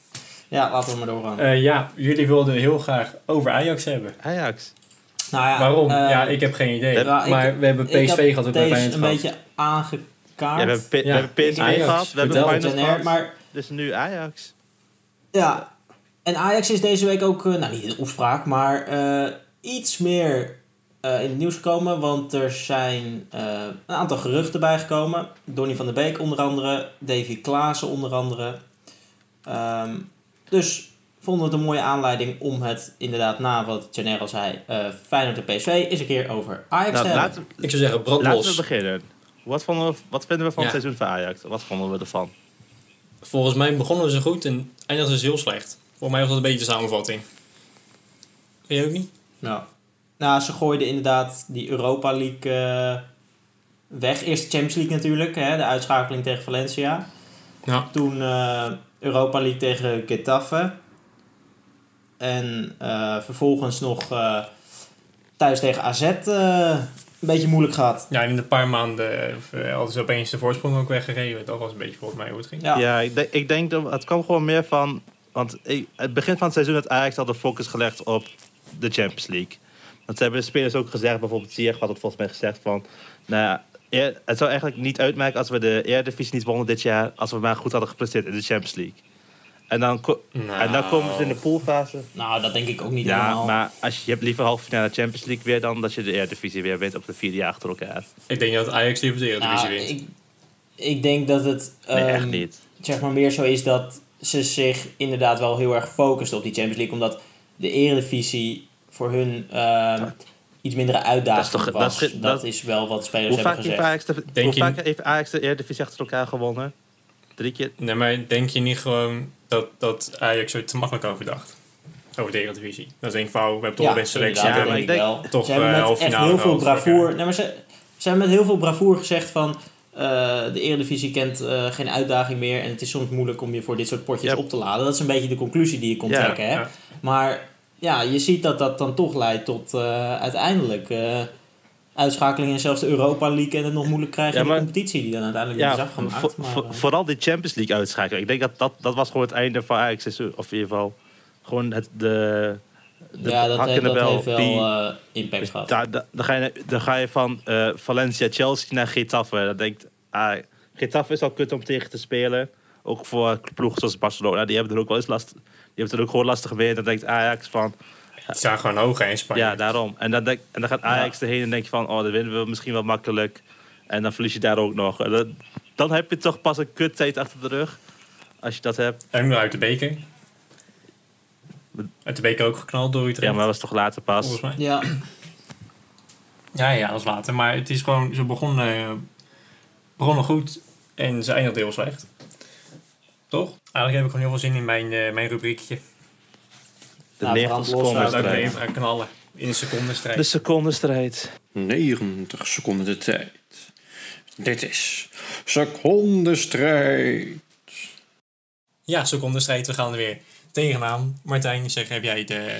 Speaker 2: ja, laten we maar doorgaan.
Speaker 4: Eh, ja, jullie wilden heel graag over Ajax hebben.
Speaker 1: Ajax.
Speaker 2: nou ja,
Speaker 4: Waarom?
Speaker 2: eh,
Speaker 4: ja, ik heb geen idee.
Speaker 2: ja, ik-
Speaker 4: maar we hebben
Speaker 2: ik heb
Speaker 4: PSV gehad ook bij
Speaker 2: deze
Speaker 4: Feyenoord
Speaker 2: een
Speaker 4: gehad.
Speaker 2: beetje
Speaker 1: Ja, we hebben,
Speaker 2: aangekaart.
Speaker 1: P- we
Speaker 4: Ja.
Speaker 1: hebben PSV
Speaker 4: Ajax,
Speaker 1: gehad, we hebben
Speaker 4: vertel
Speaker 2: Ten
Speaker 1: Finals
Speaker 2: Air,
Speaker 1: gehad.
Speaker 2: maar
Speaker 1: Dus nu Ajax.
Speaker 2: ja, en Ajax is deze week ook, eh, nou niet in opspraak, maar eh, iets meer eh, in het nieuws gekomen. Want er zijn eh, een aantal geruchten bijgekomen. Donny van der Beek onder andere, Davy Klaassen onder andere. Ehm, dus vonden we het een mooie aanleiding om het inderdaad na wat Gennaro zei, eh Feyenoord en PSV, eens een keer over Ajax
Speaker 1: Nou,
Speaker 2: te hebben.
Speaker 1: laten,
Speaker 4: Ik zou zeggen, brand
Speaker 1: Laten we
Speaker 4: los.
Speaker 1: beginnen. Wat, vonden we, wat vinden we van het
Speaker 3: Ja.
Speaker 1: seizoen van Ajax? Wat vonden we ervan?
Speaker 3: Volgens mij begonnen ze goed en eindigden ze heel slecht. Volgens mij was dat een beetje de samenvatting. Vind je ook niet?
Speaker 2: Ja. Nou, ze gooiden inderdaad die Europa League eh, weg. Eerst de Champions League natuurlijk, hè, de uitschakeling tegen Valencia.
Speaker 3: Ja.
Speaker 2: Toen eh, Europa League tegen Getafe. En eh, vervolgens nog eh, thuis tegen AZ eh, een beetje moeilijk gehad.
Speaker 3: Ja, en in een paar maanden of, eh, hadden ze opeens de voorsprong ook weggegeven. Dat was een beetje volgens mij hoe het ging.
Speaker 2: Ja.
Speaker 1: Ja, ik, denk- ik denk dat het kwam gewoon meer van. Want ik- het begin van het seizoen had Ajax al de focus gelegd op de Champions League. Want ze hebben de spelers ook gezegd, bijvoorbeeld Ziyech had het volgens mij gezegd van. Nou ja, eer- het zou eigenlijk niet uitmaken als we de Eredivisie niet wonnen dit jaar. Als we maar goed hadden gepresteerd in de Champions League. En dan, ko-
Speaker 3: Nou.
Speaker 1: en dan komen ze in de poolfase.
Speaker 2: Nou, dat denk ik ook niet
Speaker 1: Ja,
Speaker 2: helemaal.
Speaker 1: maar als je, je hebt liever halve finale Champions League weer dan dat je de Eredivisie weer wint op de vierde jaar achter elkaar.
Speaker 3: Ik denk dat Ajax liever de
Speaker 2: Nou,
Speaker 3: Eredivisie wint.
Speaker 2: ik, ik denk dat het
Speaker 1: Nee, echt
Speaker 2: ehm,
Speaker 1: niet.
Speaker 2: zeg maar meer zo is dat ze zich inderdaad wel heel erg focusten op die Champions League. Omdat de eredivisie voor hun ehm, iets mindere
Speaker 1: Dat is
Speaker 2: uitdaging
Speaker 1: toch- dat
Speaker 2: was.
Speaker 1: is
Speaker 2: Dat
Speaker 1: ge-
Speaker 2: is,
Speaker 1: dat-
Speaker 2: wel wat spelers
Speaker 1: Hoe vaak,
Speaker 2: Dus hebben
Speaker 1: heeft
Speaker 2: gezegd.
Speaker 1: Ajax de,
Speaker 3: Denk
Speaker 1: hoe
Speaker 3: je-
Speaker 1: vaak heeft Ajax de Eredivisie achter elkaar gewonnen? Drie keer?
Speaker 3: Nee, maar denk je niet gewoon dat, dat Ajax er te makkelijk over dacht? Over de Eredivisie. Dan denk ik van, oh, we hebben toch
Speaker 2: Ja,
Speaker 3: een beste selectie.
Speaker 1: Ja,
Speaker 2: inderdaad, dat
Speaker 1: maar
Speaker 3: we
Speaker 1: ik
Speaker 2: denk
Speaker 1: denk
Speaker 2: wel.
Speaker 3: toch,
Speaker 2: ze hebben
Speaker 3: eh,
Speaker 2: met
Speaker 3: halve
Speaker 2: echt
Speaker 3: finale
Speaker 2: heel veel
Speaker 3: gehaald vorig
Speaker 2: bravoer.
Speaker 3: jaar.
Speaker 2: Nee, maar ze, ze hebben met heel veel bravoer gezegd van eh, de Eredivisie kent eh, geen uitdaging meer en het is soms moeilijk om je voor dit soort potjes
Speaker 1: Ja.
Speaker 2: op te laden. Dat is een beetje de conclusie die je kon
Speaker 1: Ja,
Speaker 2: trekken. Hè?
Speaker 3: ja.
Speaker 2: Maar ja, je ziet dat dat dan toch leidt tot eh, uiteindelijk eh, uitschakeling en zelfs de Europa League en het nog moeilijk krijgen
Speaker 1: Ja,
Speaker 2: in de
Speaker 1: maar-
Speaker 2: competitie die dan uiteindelijk weer
Speaker 1: Ja,
Speaker 2: is afgemaakt.
Speaker 1: vo-
Speaker 2: maar,
Speaker 1: vo-
Speaker 2: eh,
Speaker 1: vooral die Champions League uitschakelen. Ik denk dat dat, dat was gewoon het einde van Ajax. seizoen. Of in ieder geval gewoon het, de, de
Speaker 2: eh, ja, dat,
Speaker 1: hak in
Speaker 2: heeft-
Speaker 1: de
Speaker 2: dat
Speaker 1: bel,
Speaker 2: heeft wel
Speaker 1: die-
Speaker 2: eh, impact gehad.
Speaker 1: Da- da- dan, ga je, dan ga je van eh, Valencia, Chelsea naar Getafe. Dan denkt, ah, Getafe is al kut om tegen te spelen. Ook voor ploegen zoals Barcelona. Die hebben er ook wel eens last. Die hebben het ook gewoon lastig weer. Dan denkt Ajax van,
Speaker 3: Ze staan gewoon hoog hè, in Spanje.
Speaker 1: ja, daarom. En dan, denk, en dan gaat Ajax erheen en denk je van, oh, dan winnen we misschien wel makkelijk. En dan verlies je daar ook nog. En dan, dan heb je toch pas een kut tijd achter de rug. Als je dat hebt.
Speaker 3: En nu uit de beker. Uit de beker ook geknald door Utrecht.
Speaker 1: Ja, maar dat was toch later pas.
Speaker 3: volgens mij.
Speaker 2: Ja,
Speaker 3: Ja, ja, dat is later. Maar het is gewoon, ze begonnen, eh, begonnen goed en ze eindigden heel slecht. Toch? Eigenlijk heb ik gewoon heel veel zin in mijn, eh, mijn rubriekje.
Speaker 1: De
Speaker 2: Nou, brand
Speaker 1: 90
Speaker 2: los,
Speaker 1: seconden
Speaker 3: Laat ik er
Speaker 1: strijd.
Speaker 3: even aan knallen. In een secondenstrijd.
Speaker 1: De seconden strijd.
Speaker 5: 90 seconden de tijd. Dit is secondenstrijd.
Speaker 3: Ja, secondenstrijd, we gaan er weer tegenaan. Martijn, zeg, heb jij de...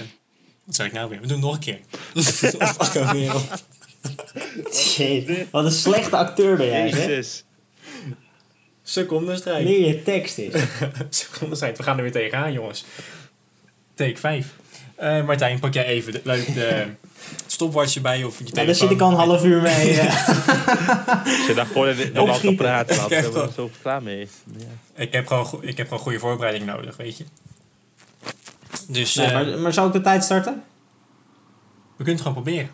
Speaker 3: Wat zei ik nou weer? We doen het nog een keer. Fuck ook weer op.
Speaker 2: Shit, wat een slechte acteur ben jij. hè?
Speaker 1: Jezus.
Speaker 3: Secondenstrijd.
Speaker 2: Leer je tekst is. Nou,
Speaker 3: Secondenstrijd, we gaan er weer tegenaan, jongens. Take 5. Martijn, pak jij even de, leuk de stopwatch bij of je telefoon.
Speaker 2: Ja, daar zit ik al een half uur mee. eh.
Speaker 1: Als je daar gewoon in de land
Speaker 2: Opschieten.
Speaker 1: op praten had,
Speaker 3: Echt
Speaker 1: dan ben
Speaker 3: wel.
Speaker 1: ik zo klaar mee.
Speaker 3: Ik heb gewoon, go- ik heb gewoon goede voorbereiding nodig, weet je. Dus
Speaker 2: Nee,
Speaker 3: eh,
Speaker 2: maar, maar zou ik de tijd starten?
Speaker 3: we kunnen het gewoon proberen.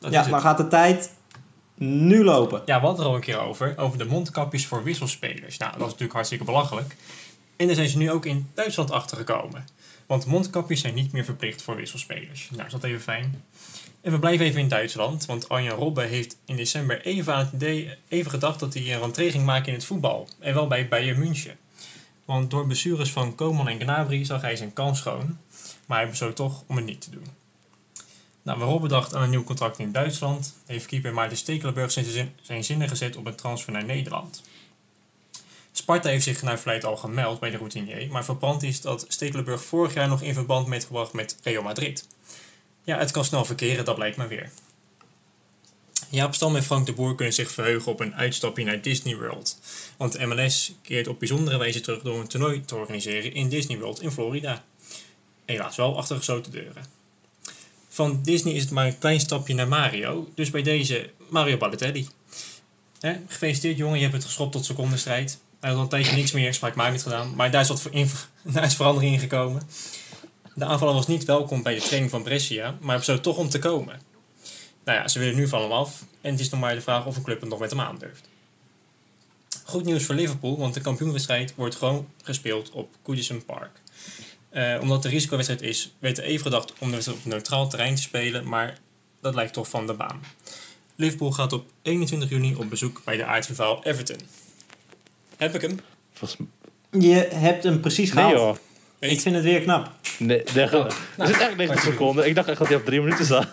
Speaker 3: Dat is
Speaker 2: ja,
Speaker 3: het.
Speaker 2: maar gaat de tijd nu lopen?
Speaker 3: Ja, we hadden er al een keer over. Over de mondkapjes voor wisselspelers. Nou, dat is natuurlijk hartstikke belachelijk. En daar zijn ze nu ook in Duitsland achtergekomen. Want mondkapjes zijn niet meer verplicht voor wisselspelers. Nou, is dat even fijn. En we blijven even in Duitsland. Want Arjen Robben heeft in december even, aan het idee, even gedacht dat hij een rentree ging maken in het voetbal. En wel bij Bayern München. Want door blessures van Koeman en Gnabry zag hij zijn kans schoon. Maar hij besloot toch om het niet te doen. Nou, waarop bedacht aan een nieuw contract in Duitsland, heeft keeper Maarten Stekelenburg zijn, zin- zijn zinnen gezet op een transfer naar Nederland. Sparta heeft zich naar verluidt al gemeld bij de routinier, maar verbrand is dat Stekelenburg vorig jaar nog in verband werd gebracht met Real Madrid. Ja, het kan snel verkeren, dat blijkt maar weer. Jaap Stam en Frank de Boer kunnen zich verheugen op een uitstapje naar Disney World. Want de MLS keert op bijzondere wijze terug door een toernooi te organiseren in Disney World in Florida. Helaas wel achter gesloten deuren. Van Disney is het maar een klein stapje naar Mario. Dus bij deze Mario Balotelli. Hè, gefeliciteerd jongen, je hebt het geschopt tot secondenstrijd. Hij had al een tijdje niks meer spraakmakend gedaan. Maar daar is, wat voor in, daar is verandering in gekomen. De aanvaller was niet welkom bij de training van Brescia. Maar besloot toch om te komen. Nou ja, ze willen nu van hem af. En het is nog maar de vraag of een club het nog met hem aandurft. Goed nieuws voor Liverpool, want de kampioenwedstrijd wordt gewoon gespeeld op Goodison Park. Eh, omdat de risicowedstrijd is, werd er even gedacht om de wedstrijd op neutraal terrein te spelen, maar dat lijkt toch van de baan. Liverpool gaat op 21 juni op bezoek bij de aardsrivaal Everton. Heb ik hem?
Speaker 1: Volgens
Speaker 2: Je hebt hem precies
Speaker 1: Nee
Speaker 2: gehaald.
Speaker 1: joh.
Speaker 2: ik vind het weer knap.
Speaker 1: Nou, Nee, er zit echt 90 seconden. Ik dacht echt dat hij op drie minuten zat.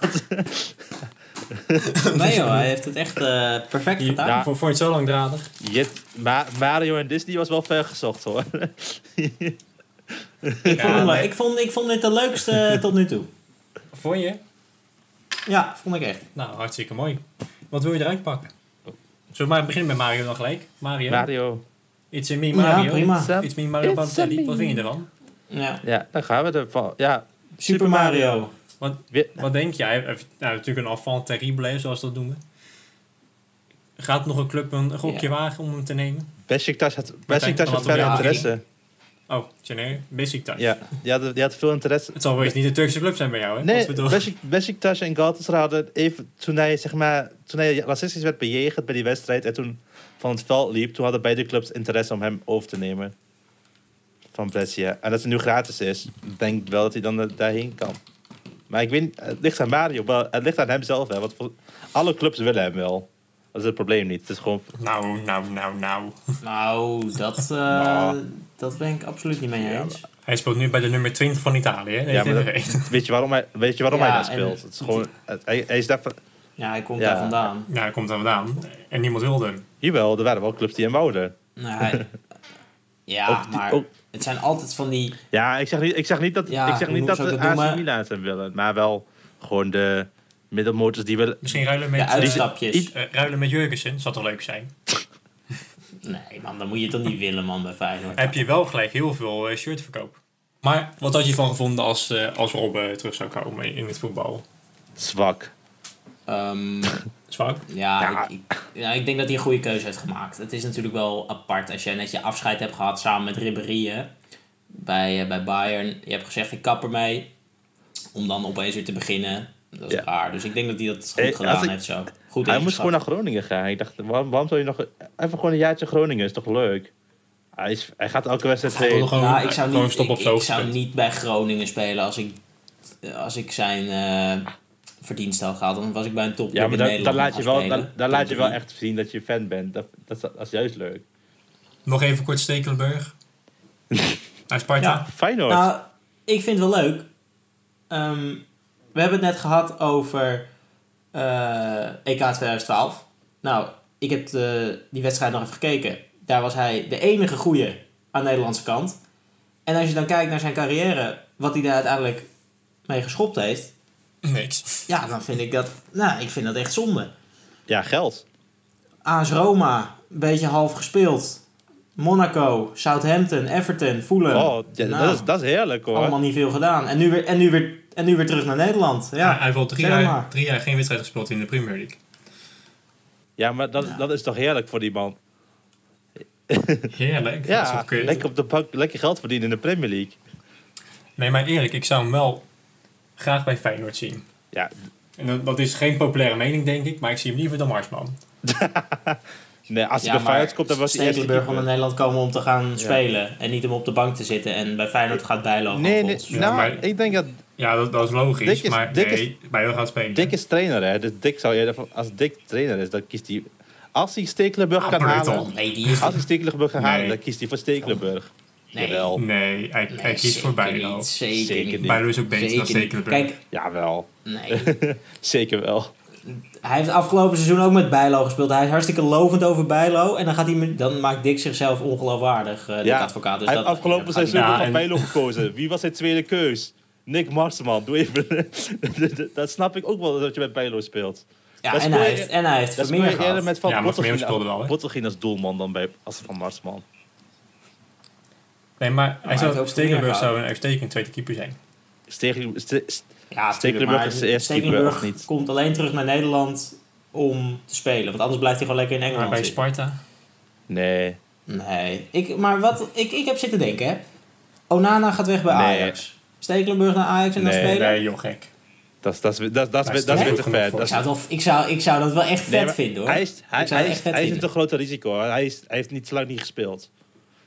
Speaker 2: Nee hoor, hij heeft het echt eh, perfect
Speaker 3: Je,
Speaker 2: gedaan.
Speaker 1: Ja.
Speaker 3: vond, vond je het zo langdradig?
Speaker 1: Je hebt- Ma- Mario en Disney was wel ver gezocht hoor.
Speaker 2: Ik, vond
Speaker 3: Ja,
Speaker 2: hem wel-
Speaker 3: nee.
Speaker 2: ik, vond, ik vond dit de leukste eh, tot nu toe.
Speaker 3: Vond je?
Speaker 2: Ja, vond ik echt.
Speaker 3: Nou, hartstikke mooi. Wat wil je eruit pakken? Zullen we maar beginnen met Mario dan gelijk? Mario.
Speaker 1: Mario.
Speaker 3: It's a me Mario.
Speaker 2: Ja, prima.
Speaker 1: Sam.
Speaker 3: It's me Mario
Speaker 1: It's a
Speaker 3: Balotelli.
Speaker 1: me.
Speaker 3: Wat vind je ervan?
Speaker 2: Ja.
Speaker 1: Ja, dan gaan we ervan. Ja,
Speaker 2: Super Mario.
Speaker 1: weer-
Speaker 3: Wat denk jij? Hij heeft- Nou, natuurlijk een enfant terrible, hè, zoals ze dat noemen. Gaat nog een club een gokje wagen om hem te nemen?
Speaker 1: Besiktas had, Besiktas had
Speaker 3: Martijn,
Speaker 1: verder
Speaker 3: Martijn.
Speaker 1: interesse.
Speaker 3: Oh, Janeer, Besiktas.
Speaker 1: Ja, die hadden, die hadden veel interesse.
Speaker 3: Het zal wel eens niet een Turkse club zijn bij jou, hè?
Speaker 1: Nee,
Speaker 3: Wat we toch-
Speaker 1: Besik- Besiktas en Galatasaray hadden even... Toen hij, zeg maar, toen hij racistisch werd bejegend bij die wedstrijd... en toen van het veld liep... toen hadden beide clubs interesse om hem over te nemen. Van Brescia. En dat het nu gratis is... ik denk ik wel dat hij dan da- daarheen kan. Maar ik weet niet, Het ligt aan Mario. wel- Het ligt aan hem zelf, hè. Want vol- alle clubs willen hem wel. Dat is het probleem niet. Het is gewoon...
Speaker 3: Nou, nou, nou, nou.
Speaker 2: Nou, dat, eh,
Speaker 1: Nou.
Speaker 2: dat ben ik absoluut niet mee
Speaker 1: Ja,
Speaker 2: eens.
Speaker 3: Hij speelt nu bij de nummer 20 van Italië, hè?
Speaker 1: Ja, maar dat-
Speaker 3: dat...
Speaker 1: Weet je waarom hij, weet je waarom
Speaker 2: Ja,
Speaker 1: hij dat
Speaker 2: en-
Speaker 1: speelt? Het is gewoon... het- hij, hij is daar... van-
Speaker 2: Ja, hij komt
Speaker 1: Ja.
Speaker 2: daar vandaan.
Speaker 3: Ja, hij komt Nou, daar vandaan. En niemand wilde hem.
Speaker 1: Jawel, er waren wel clubs die hem wouden.
Speaker 2: Nou, hij- ja,
Speaker 1: Ook die-
Speaker 2: maar
Speaker 1: ook-
Speaker 2: het zijn altijd van die...
Speaker 1: Ja, ik zeg niet, ik zeg niet dat,
Speaker 2: Ja,
Speaker 1: ik zeg
Speaker 2: hoe
Speaker 1: niet
Speaker 2: moet-
Speaker 1: dat
Speaker 2: zou ik
Speaker 1: de
Speaker 2: dat
Speaker 1: AC
Speaker 2: noemen?
Speaker 1: Milan hem willen. Maar wel gewoon de middelmotors die willen...
Speaker 3: Misschien ruilen
Speaker 2: De
Speaker 3: met, eh
Speaker 2: uitstapjes.
Speaker 3: eh, ruilen met Jurgensen zou toch leuk zijn?
Speaker 2: Nee man, dan moet je toch niet willen man bij Feyenoord.
Speaker 3: heb je wel gelijk heel veel eh, shirtverkoop. Maar wat had je van gevonden als, eh, als Rob eh, terug zou komen in het voetbal?
Speaker 1: Zwak.
Speaker 2: Ehm,
Speaker 3: Zwak?
Speaker 2: ja,
Speaker 1: Ja.
Speaker 2: Ik, ik, ja, ik denk dat hij een goede keuze heeft gemaakt. Het is natuurlijk wel apart als jij net je afscheid hebt gehad samen met Ribéry hè, bij, eh, bij Bayern. Je hebt gezegd ik kap ermee om dan opeens weer te beginnen. Dat is
Speaker 1: Ja.
Speaker 2: raar. Dus ik denk dat hij dat goed
Speaker 1: Eh, als
Speaker 2: gedaan
Speaker 1: ik-
Speaker 2: heeft zo. Goed
Speaker 1: Hij
Speaker 2: ingeschat.
Speaker 1: moest gewoon naar Groningen gaan. Ik dacht, waarom, waarom zou je nog... Even gewoon een jaartje Groningen, is toch leuk? Hij, is, hij gaat elke wedstrijd
Speaker 3: Hij wil
Speaker 1: heen.
Speaker 3: nog gewoon,
Speaker 2: nou, ik zou,
Speaker 3: gewoon
Speaker 2: niet,
Speaker 3: stoppen
Speaker 2: ik,
Speaker 3: op zo'n
Speaker 2: ik zou
Speaker 3: punt.
Speaker 2: niet bij Groningen spelen als ik, als ik zijn eh verdienst had gehad. Dan was ik bij een
Speaker 1: Ja,
Speaker 2: top
Speaker 1: maar
Speaker 2: in
Speaker 1: dan, dan
Speaker 2: Nederland
Speaker 1: laat je
Speaker 2: gaan
Speaker 1: wel, dan,
Speaker 2: spelen.
Speaker 1: dan laat je wel
Speaker 2: Top
Speaker 1: echt zien dat je fan bent. Dat, dat, is- dat is juist leuk.
Speaker 3: Nog even kort Stekelenburg. Naar Sparta.
Speaker 2: Ja.
Speaker 1: Feyenoord.
Speaker 2: Nou, ik vind het wel leuk. Ehm, we hebben het net gehad over eh, EK 2012. Nou, ik heb de- die wedstrijd nog even gekeken. Daar was hij de enige goeie aan de Nederlandse kant. En als je dan kijkt naar zijn carrière, wat hij daar uiteindelijk mee geschopt heeft.
Speaker 3: Niks.
Speaker 2: Ja, dan vind ik dat, nou, ik vind dat echt zonde.
Speaker 1: Ja, geld.
Speaker 2: AS Roma, een beetje half gespeeld. Monaco, Southampton, Everton, Fulham.
Speaker 1: Oh, ja,
Speaker 2: Nou.
Speaker 1: dat, is, dat is heerlijk hoor.
Speaker 2: Allemaal niet veel gedaan. En nu weer, en nu weer, en nu weer terug naar Nederland. Ja.
Speaker 3: hij heeft al drie
Speaker 2: zeg
Speaker 3: jaar,
Speaker 2: maar.
Speaker 3: drie jaar geen wedstrijd gespeeld in de Premier League.
Speaker 1: Ja, maar dat, dat is toch heerlijk voor die man.
Speaker 3: Heerlijk. dat is
Speaker 1: Ja,
Speaker 3: wel kut.
Speaker 1: lekker op de bank, lekker geld verdienen in de Premier League.
Speaker 3: Nee, maar eerlijk, ik zou hem wel graag bij Feyenoord zien.
Speaker 1: Ja,
Speaker 3: En dat, dat is geen populaire mening, denk ik, maar ik zie hem liever dan Marsman.
Speaker 1: nee, als hij
Speaker 2: Ja,
Speaker 1: bij Feyenoord komt, dan was hij eerst
Speaker 2: Stekelenburg om naar Nederland komen om te gaan spelen. En niet om op de bank te zitten en bij Feyenoord gaat bijlopen.
Speaker 1: Nee, nee,
Speaker 2: volgens mij.
Speaker 1: nou,
Speaker 3: maar-
Speaker 1: ik denk dat
Speaker 3: Ja, dat, dat is logisch,
Speaker 1: Dick is-
Speaker 3: maar
Speaker 1: Dick is-
Speaker 3: nee, bij jou gaat spelen.
Speaker 1: Dick is trainer, hè. Dus Dick zou eerder... van- Als Dick trainer is, dan kiest hij... Als hij Stekelenburg kan
Speaker 3: Appelton.
Speaker 1: halen...
Speaker 2: Nee, die is...
Speaker 1: Als hij Stekelenburg kan halen,
Speaker 3: Nee.
Speaker 1: dan kiest hij voor Stekelenburg.
Speaker 2: Nee.
Speaker 1: Jawel.
Speaker 3: Nee, hij,
Speaker 2: Nee,
Speaker 3: hij kiest
Speaker 2: zeker
Speaker 3: voor Bijlo.
Speaker 2: niet, Zeker,
Speaker 1: Zeker
Speaker 2: niet.
Speaker 1: niet.
Speaker 3: Bijlo is ook beter dan
Speaker 2: Zeker niet.
Speaker 3: Stekelenburg.
Speaker 2: Kijk,
Speaker 1: Jawel.
Speaker 2: nee.
Speaker 1: Zeker wel.
Speaker 2: hij heeft afgelopen seizoen ook met Bijlo gespeeld. Hij is hartstikke lovend over Bijlo. En dan, gaat hij, me- dan maakt Dick zichzelf ongeloofwaardig, eh Dick
Speaker 1: Ja,
Speaker 2: advocaat. Dus
Speaker 1: hij
Speaker 2: dat,
Speaker 1: heeft afgelopen
Speaker 2: dat gaat
Speaker 1: seizoen
Speaker 3: Ja,
Speaker 1: nog van
Speaker 3: en-
Speaker 1: Bijlo gekozen. Wie was zijn tweede keus? Nick Marsman. Doe even... dat snap ik ook wel, dat je met Bijlo speelt.
Speaker 2: niet. Ja,
Speaker 1: dat
Speaker 2: en
Speaker 1: speel
Speaker 2: hij
Speaker 1: je-
Speaker 2: heeft, en hij heeft
Speaker 1: Dat speel
Speaker 2: Vermeer
Speaker 1: je
Speaker 2: gehad.
Speaker 1: eerder met Van
Speaker 3: Ja, maar Vermeer
Speaker 1: Bottegien-
Speaker 3: speelde wel, hè?
Speaker 1: Bottegien als doelman dan bij, als Van Marsman.
Speaker 3: Nee, maar hij
Speaker 2: heeft ook
Speaker 3: zou,
Speaker 2: goed
Speaker 3: Stekelenburg
Speaker 2: neergehaald.
Speaker 3: zou een uitstekend tweede keeper zijn.
Speaker 1: Stegen- Ste- Ste-
Speaker 2: Ja,
Speaker 1: Stekelenburg
Speaker 2: tuurlijk, maar
Speaker 1: is de eerste
Speaker 2: Stekelenburg
Speaker 1: keeper, of niet?
Speaker 2: komt alleen terug naar Nederland om te spelen. Want anders blijft hij gewoon lekker in
Speaker 3: Maar
Speaker 2: Engeland
Speaker 3: bij
Speaker 2: zitten.
Speaker 3: Sparta?
Speaker 1: Nee.
Speaker 2: Nee. Ik, maar wat ik, ik heb zitten denken, hè. Onana gaat weg bij
Speaker 1: Nee.
Speaker 2: Ajax. Stekelenburg naar Ajax en
Speaker 1: Nee,
Speaker 2: dan spelen?
Speaker 3: Nee, joh, gek.
Speaker 1: Dat is- dat is- dat is- dat
Speaker 3: Hij
Speaker 1: is
Speaker 3: is
Speaker 1: dat is
Speaker 3: te
Speaker 1: weer te
Speaker 3: goed genoeg
Speaker 1: ver.
Speaker 3: voor-
Speaker 1: Dat
Speaker 2: Ik
Speaker 1: is-
Speaker 2: zou, het wel- ik, zou, ik zou dat wel echt
Speaker 1: Nee,
Speaker 2: vet
Speaker 1: maar
Speaker 2: vinden, hoor.
Speaker 1: Hij is, hij,
Speaker 2: Ik zou
Speaker 1: hij
Speaker 2: het
Speaker 1: is,
Speaker 2: echt vet
Speaker 1: hij is een
Speaker 2: vinden.
Speaker 1: te groot risico. Hij, is, hij heeft niet te lang niet gespeeld.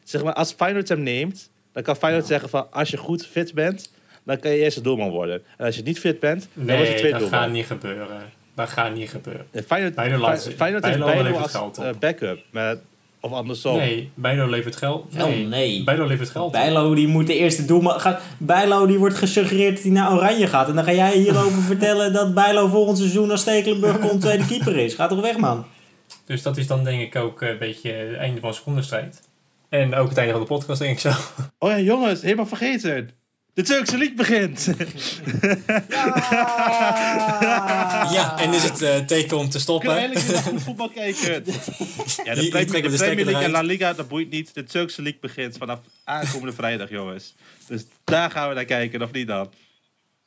Speaker 1: Zeg maar, als Feyenoord hem neemt, dan kan Feyenoord zeggen van... als je goed fit bent, dan kan je eerste doelman worden. En als je niet fit bent, dan word je
Speaker 3: Nee,
Speaker 1: tweede
Speaker 3: dat
Speaker 1: doelman.
Speaker 3: gaat niet gebeuren. Dat gaat niet gebeuren.
Speaker 1: En Feyenoord,
Speaker 3: Bijlo laat-
Speaker 1: Fe- Feyenoord
Speaker 3: Bijlo
Speaker 1: heeft Bijlo
Speaker 3: levert
Speaker 1: als
Speaker 3: geld op.
Speaker 1: eh, backup. Maar Of andersom.
Speaker 6: Nee, Bijlo levert geld.
Speaker 2: Wel
Speaker 6: Oh, Nee,
Speaker 2: nee.
Speaker 6: Bijlo levert geld.
Speaker 2: Bijlo die moet de eerste doel ma- gaat. Bijlo die wordt gesuggereerd dat hij naar Oranje gaat. En dan ga jij hierover vertellen dat Bijlo volgend seizoen als Stekelenburg komt tweede keeper is. Ga toch weg man.
Speaker 6: Dus dat is dan denk ik ook eh, een beetje het einde van secondenstrijd. En ook het einde van de podcast denk ik zo.
Speaker 1: Oh ja, jongens, helemaal vergeten. De Turkse League begint.
Speaker 6: Ja, en is het eh, teken om te
Speaker 1: Kunnen we
Speaker 6: stoppen.
Speaker 1: eindelijk weer naar goed voetbal kijken? Ja, de,
Speaker 6: Hier- hier
Speaker 1: Premier-
Speaker 6: trekken we
Speaker 1: de
Speaker 6: de stekker
Speaker 1: Premier League en
Speaker 6: eruit.
Speaker 1: La Liga, dat boeit niet. De Turkse League begint vanaf aankomende vrijdag, jongens. Dus daar gaan we naar kijken, of niet dan?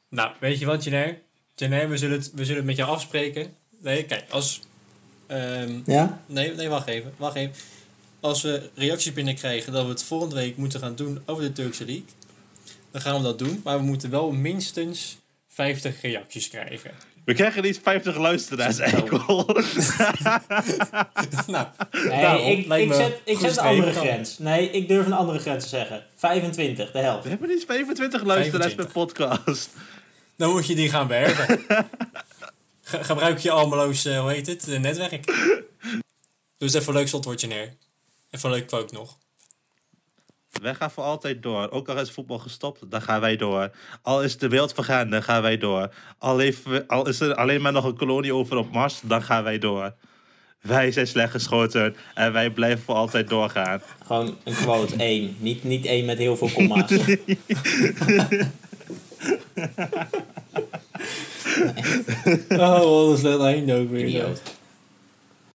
Speaker 6: Nou,
Speaker 3: Weet je wat, Jenner? Jenner, we zullen, het, we zullen het met jou afspreken. Nee, kijk, als... ehm,
Speaker 2: Ja?
Speaker 3: nee, nee, wacht even. Wacht even. Als we reacties binnenkrijgen dat we het volgende week moeten gaan doen over de Turkse League, dan gaan we dat doen. Maar we moeten wel minstens 50 reacties krijgen.
Speaker 1: We krijgen niet 50 luisteraars, enkel.
Speaker 3: nou,
Speaker 2: Nee,
Speaker 3: Daarom,
Speaker 2: ik,
Speaker 3: lijkt
Speaker 2: ik
Speaker 3: me
Speaker 2: zet, ik
Speaker 3: goed
Speaker 2: zet een
Speaker 3: streven.
Speaker 2: andere grens. Nee, ik durf een andere grens te zeggen. 25, de helft.
Speaker 1: We hebben niet 25 luisteraars per
Speaker 3: 25.
Speaker 1: podcast.
Speaker 3: dan moet je die gaan werven. gebruik je Almeloos, eh, hoe heet het, eh, netwerk. Dus even een leuk slotwoordje neer. Even een leuk quote nog.
Speaker 1: Wij gaan voor altijd door. Ook al is voetbal gestopt, dan gaan wij door. Al is de wereld vergaan, dan gaan wij door. Al, leven we- al is er alleen maar nog een kolonie over op Mars, dan gaan wij door. Wij zijn slecht geschoten en wij blijven voor altijd doorgaan.
Speaker 2: Gewoon een quote, één. Niet, niet één met heel veel komma's.
Speaker 3: Oh, wat is dat einde ook weer.
Speaker 2: Idioot.